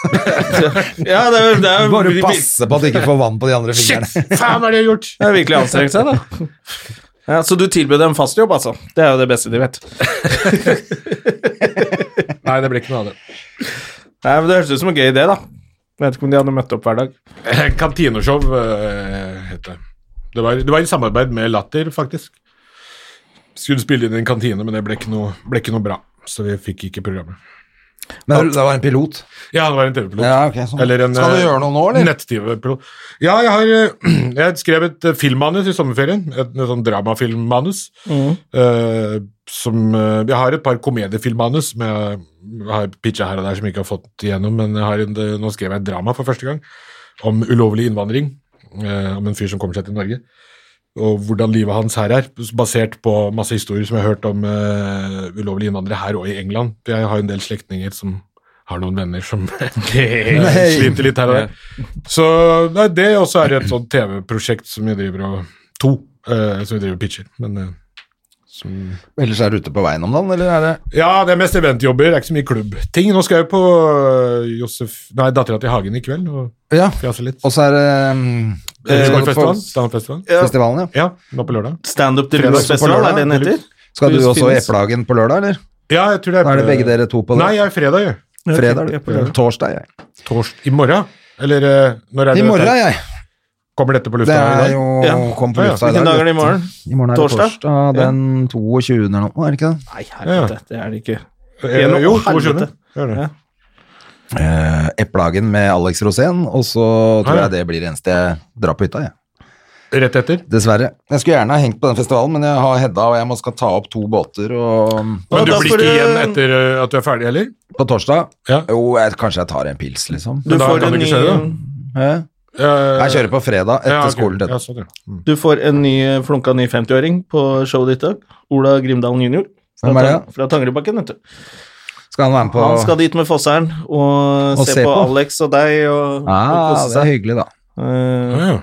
Ja, det er, det er, Bare passe på at du ikke får vann på de andre Shit! fingrene. Faen, hva er det jeg har gjort? Det er virkelig anstrengt seg, da. Ja, så du tilbød dem fast jobb, altså. Det er jo det beste de vet. Nei, det ble ikke noe av det. Nei, men Det høres ut som en gøy idé, da. Jeg vet ikke om de hadde møtt opp hver dag. Eh, Kantineshow eh, het det. Det var, det var i samarbeid med Latter, faktisk. Skulle spille inn i en kantine, men det ble ikke noe, ble ikke noe bra. Så vi fikk ikke programmet. Men det var en pilot. Ja, det var en TV-pilot. Ja, ok, sånn. Eller en, eh, Skal du gjøre noe nå, eller? Nett-TV-pilot. Ja, jeg har [clears throat] eh, jeg skrev et eh, filmmanus i sommerferien. Et, et sånn dramafilmmanus. Mm. eh, som eh, Jeg har et par komediefilmmanus som jeg har pitcha her og der som jeg ikke har fått igjennom, men jeg har en, det- nå skrev jeg et drama for første gang om ulovlig innvandring. eh, om en fyr som kommer seg til Norge. Og hvordan livet hans her er, basert på masse historier som jeg har hørt om eh, ulovlige innvandrere her og i England. For Jeg har jo en del slektninger som har noen venner som [laughs] Nei. sliter litt her og der. Så nei, det også er et sånt TV-prosjekt som vi driver og To. eh, som vi driver og pitcher. Men eh, Ellers er du ute på veien om dagen, eller er det ja, det er mest eventjobber, det er ikke så mye klubbting. Nå skal jeg på eh, Josef Nei, dattera til Hagen i kveld og Ja. fjase litt. Eh, Og så er det um, Eh, skal, du Standup-festivalen. på- festivalen, ja. Ja, nå på lørdag. Standup til Fredag Lund Festival, er det den heter? skal du Finnes- også i Eplehagen på lørdag, eller? Ja, jeg tror det er Da er det begge dere to på det? Nei, jeg er fredag, jo. Fredag? jeg er på du. lørdag. Torsdag, jeg. Tors... I morgen? Eller eh, når er det I morgen, dette? jeg. Kommer dette på Det lufta i er dag? jo Ja. Kom på Ja, ja. lufta i Hvilken dag. dag er det i vet du. morgen? I morgen er det Torsdag? torsdag, den 22. eller noe, er det ikke det? Nei, helvete, det er det ikke. Eh, Gjennom- jo, Å, helvete. 22. Det er Ja. det. Eh, Eplehagen med Alex Rosén, og så tror Ja, ja. jeg det blir det eneste jeg drar på hytta, jeg. Rett etter? Dessverre. Jeg skulle gjerne ha hengt på den festivalen, men jeg har Hedda, og jeg må skal ta opp to båter og mm, Ja, Men du da blir får ikke du- igjen etter eh, at du er ferdig, heller? På torsdag Ja. Jo, jeg, kanskje jeg tar en pils, liksom. Du da får, kan en du ny, ikke kjøre, Hæ? Jeg kjører på fredag etter skolen. Ja, til- sånn, ja. Mm. du får en ny eh, flunka ny 50-åring på showet ditt i dag. Ola Grimdalen jr. Fra, Hvem er det? Tang- fra Tangerudbakken, vet du. Skal han være med på Han skal dit med Fosseren og, Og se, se på, på? Alex og deg og, og ah, kose Det er seg. hyggelig, da. Eh, Ja, ja.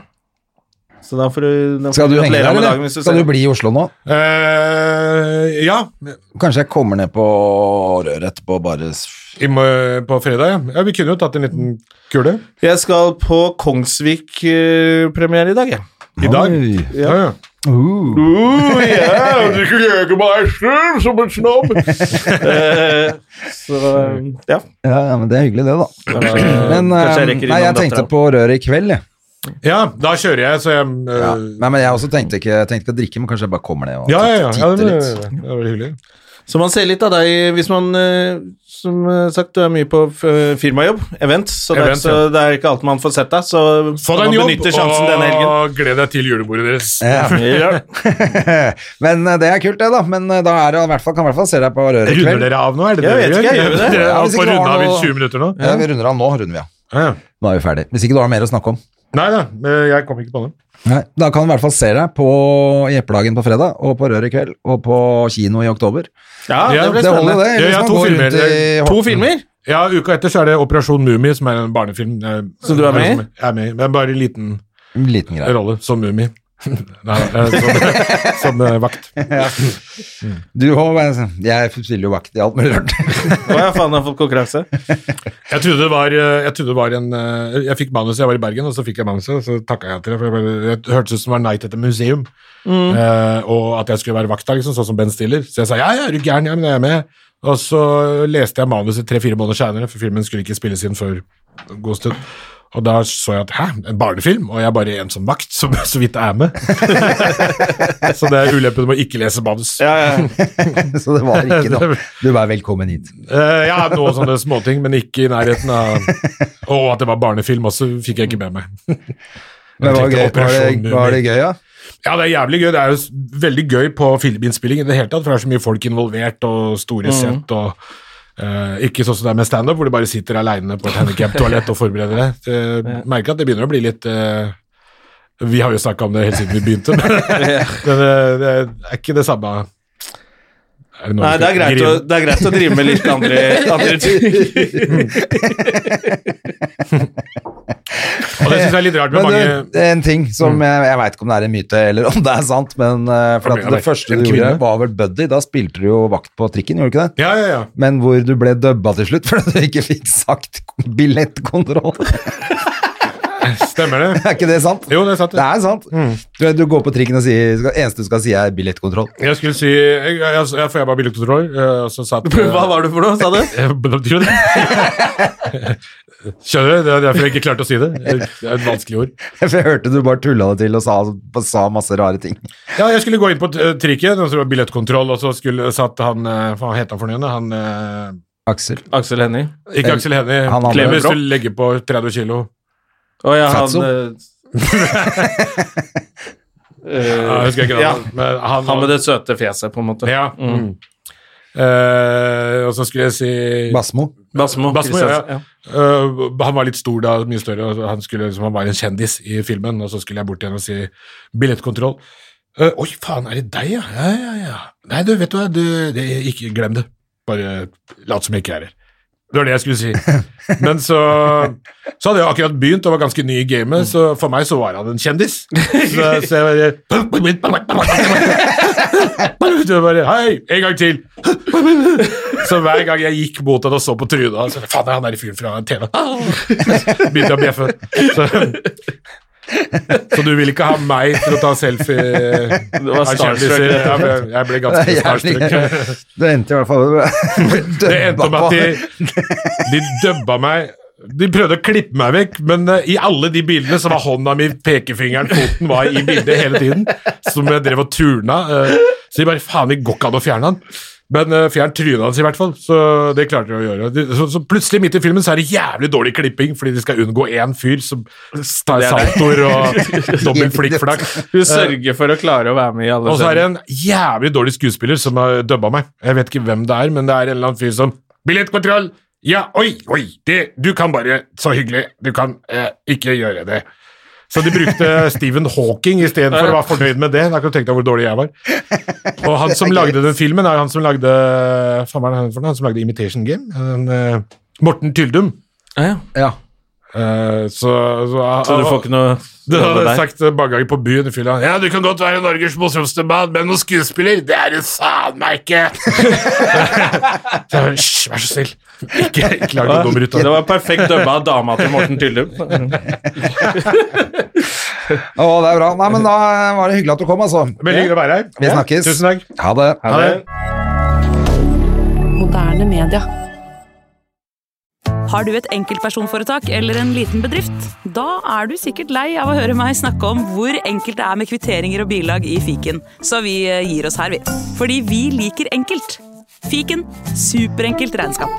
Så da får du, da får Skal du henge gratulere der, med dagen eller? hvis du Skal ser du den. bli i Oslo nå? Eh, ja. Kanskje jeg kommer ned på røret etterpå og bare s- I, mo- på fredag, ja. ja. Vi kunne jo tatt en liten kule Jeg skal på Kongsvik-premiere i [laughs] dag, jeg. i dag. Oi. Ja, ja. Uh. Oh, yeah. Du kunne gjøre meg selv som en snobb! Eh, så ja. Ja, ja, men det er hyggelig, det, da. Men Kanskje jeg eh, rekker nei, jeg innom datteren. tenkte på røret i kveld, jeg. ja, da kjører jeg, så jeg eh, Ja. Nei, men jeg også tenkte ikke, jeg tenkte ikke å drikke, men kanskje jeg bare kommer ned og ja, ja, ja. ja, titter det, litt. var- det var hyggelig. Så man ser litt av deg hvis man eh, Som eh, sagt, du er mye på eh, firmajobb, event, så, det, er- Event, ja. så det er ikke alt man får sett deg. Så Få deg man en jobb, benytter sjansen denne helgen. og gled deg til julebordet deres. Ja. [laughs] Men eh, det er kult, det, da. Men eh, da er det, i hvert fall, kan i hvert fall se deg på røret i Runder kveld. dere av nå? Er det Jeg det vet dere ikke, jeg gjør det. Dere Ja, har hvis på ikke det runda var vi noe- 20 minutter nå? Ja, vi runder av nå, runder vi av. Ja, ja. Nå er vi ferdig. Hvis ikke du har mer å snakke om. Nei da, eh, jeg kom ikke på det. Nei, da kan du i hvert fall se deg på Jeppedagen på fredag, og på Røret i kveld, og på kino i oktober. Ja, det Ja, ble Det holder, spennende. det. Ja, Hvis ja, man to går filmer. rundt i To Horten. [laughs] filmer? Ja, Uka etter så er det Operasjon Mummi, som er en barnefilm. eh, Så du er med i? Jeg er med i, men bare en liten En liten greie. rolle som Mummi. [laughs] Nei, eh, [laughs] som, som eh, vakt. Du, Håvard, jeg spiller jo vakt i alt mulig rart. [laughs] Å ja, faen, jeg har fått konkurranse. Jeg trodde det var, eh, jeg trodde det var en eh, Jeg fikk manuset, jeg var i Bergen, og så fikk jeg manuset, så takka jeg til det. For jeg bare, det hørtes ut som det var Night at the Museum, eh, og at jeg skulle være vakt der, liksom, sånn som Ben Stiller. Så jeg sa ja, ja, er du gæren, ja, men jeg er med. Og så leste jeg manuset tre-fire måneder seinere, for filmen skulle ikke spilles inn før en god stund. Og da så jeg at hæ, en barnefilm, og jeg er bare en som vakt, som [laughs] så vidt er med. så det er ulempen med å ikke lese manus. Ja, ja. Så [laughs] det var ikke noe. Du var velkommen hit. Eh, ja, noen sånne småting, men ikke i nærheten [laughs] av Og at det var barnefilm også, fikk jeg ikke med meg. Men var det gøy, Jeg tenkte var Operasjon det, var det gøy ja? Ja, det er jævlig gøy. Det er jo s- veldig gøy på filminnspilling i det hele tatt, for det er så mye folk involvert, og Mm. store sett, og eh, ikke sånn som det er med standup, hvor du bare sitter aleine på et handikap-toalett og forbereder deg. [laughs] Jeg merker at det begynner å bli litt eh, Vi har jo snakka om det helt siden vi [laughs] begynte, men men, eh, det er ikke det samme er det noe Nei, vi det er, skal greit å, grine? det er greit å drive med litt andre, andre [laughs] ting. Og det syns jeg er litt rart med [laughs] Men mange du, en ting som jeg, jeg veit ikke om det er en myte eller om Mm. det er sant, men eh, for Kom at igjen, det da. første En du gjorde, kvinne. var vel Buddy. Da spilte du jo vakt på trikken, gjorde du ikke det? Ja, ja, ja. Men hvor du ble dubba til slutt [laughs] fordi du ikke fikk sagt billettkontroll. [laughs] Stemmer det. Er ikke det sant? Jo, det er sant. Det er sant. Du, du går på trikken og sier skal- eneste du skal si, er billettkontroll. [laughs] Jeg skulle si Jeg, jeg, jeg, jeg får jeg bare billettkontroll, eh, og så satt [laughs] Hva var det for noe, sa [laughs] du? Jeg betyr jo det. Skjønner du? Det er derfor jeg ikke klarte å si det. Det er et vanskelig ord. For jeg hørte du bare tulla det til og sa, sa masse rare ting. Ja, jeg skulle gå inn på eh, trikken, og så var det billettkontroll, og så skulle, satt han eh, Hva het han for noe? Han eh, Aksel. Aksel Hennie. Ikke Aksel Hennie. Han andre. Klever, hvis du legger på 30 kilo. Å ja, han Fatso. [laughs] eh, eh, Ja, jeg husker ikke ja, navnet, men han, Han med det Mm. søte fjeset, på en måte. Ja. Mm. Eh, og så skulle jeg si Basmo. Basmo. Basmo, ja, Christiansen, ja. Eh, han var litt stor da, mye større, og han, skulle, liksom, han var en kjendis i filmen, og så skulle jeg bort igjen og si billettkontroll. Eh, Oi, faen, er det deg, ja? Ja, ja, ja. Nei, du, vet du hva, du, det, ikke glem det. Bare lat som jeg ikke er her. Det var det jeg skulle si. Men så, så hadde jeg akkurat begynt og var ganske ny i gamet, så for meg så var han en kjendis. Så, så jeg bare Så jeg bare Hei, en gang til! Så hver gang jeg gikk mot han og så på trynet hans, så faen, det er han der fyren fra TV. Begynte jeg å bjeffe. Så, så du vil ikke ha meg til å ta selfie var av starstruck. kjendiser? Jeg ble, jeg ble ganske starstruck. Det endte i hvert fall [laughs] [laughs] Det endte med at de, de dubba meg de prøvde å klippe meg vekk, men eh, i alle de bildene så var hånda mi, pekefingeren, foten var i bildet hele tiden. Som jeg drev og turna. eh, Så de bare faen, det går ikke an å fjerne han. Men eh, fjern trynet hans i hvert fall. Så det klarte de å gjøre. De- Så, så plutselig midt i filmen så er det jævlig dårlig klipping, fordi de skal unngå én fyr som tar saltoer [laughs] og dobbel flikkflakk. Du sørger for å klare å være med i alle Og så er det scener. en jævlig dårlig skuespiller som har dubba meg. Jeg vet ikke hvem det er, men det er en eller annen fyr som Billettkontroll! Ja, oi, oi! Det, du kan bare Så hyggelig. Du kan eh, ikke gjøre det. Så de [laughs] brukte Stephen Hawking istedenfor og var fornøyd med det. Da kan du tenke deg hvor dårlig jeg var. Og [laughs] han som lagde den filmen, er han som lagde faen, hva er han, for noe? han som lagde Imitation Game. Han, eh, Morten Tyldum. Ja, ja. Ja. Eh, så, så, Så du får ikke noe du hadde der. jeg sagt det mange ganger på byen i fylla. Ja, du kan godt være Norges morsomste mann, men noen skuespiller, det er du faen meg ikke! Så jeg bare, Hysj, vær så snill. Ikke, ikke lag noe dummer ut av Det det. var perfekt dømma av dama til Morten Tyldum. Å, det er bra. Nei, men da eh, var det hyggelig at du kom, altså. Veldig hyggelig å være her. Vi snakkes. Ja, tusen takk. Ha det. Ha det. Moderne media. Har du et enkeltpersonforetak eller en liten bedrift? Da er du sikkert lei av å høre meg snakke om hvor enkelt det er med kvitteringer og bilag i fiken, så eh, vi gir oss her, vi. Fordi vi liker enkelt. Fiken superenkelt regnskap.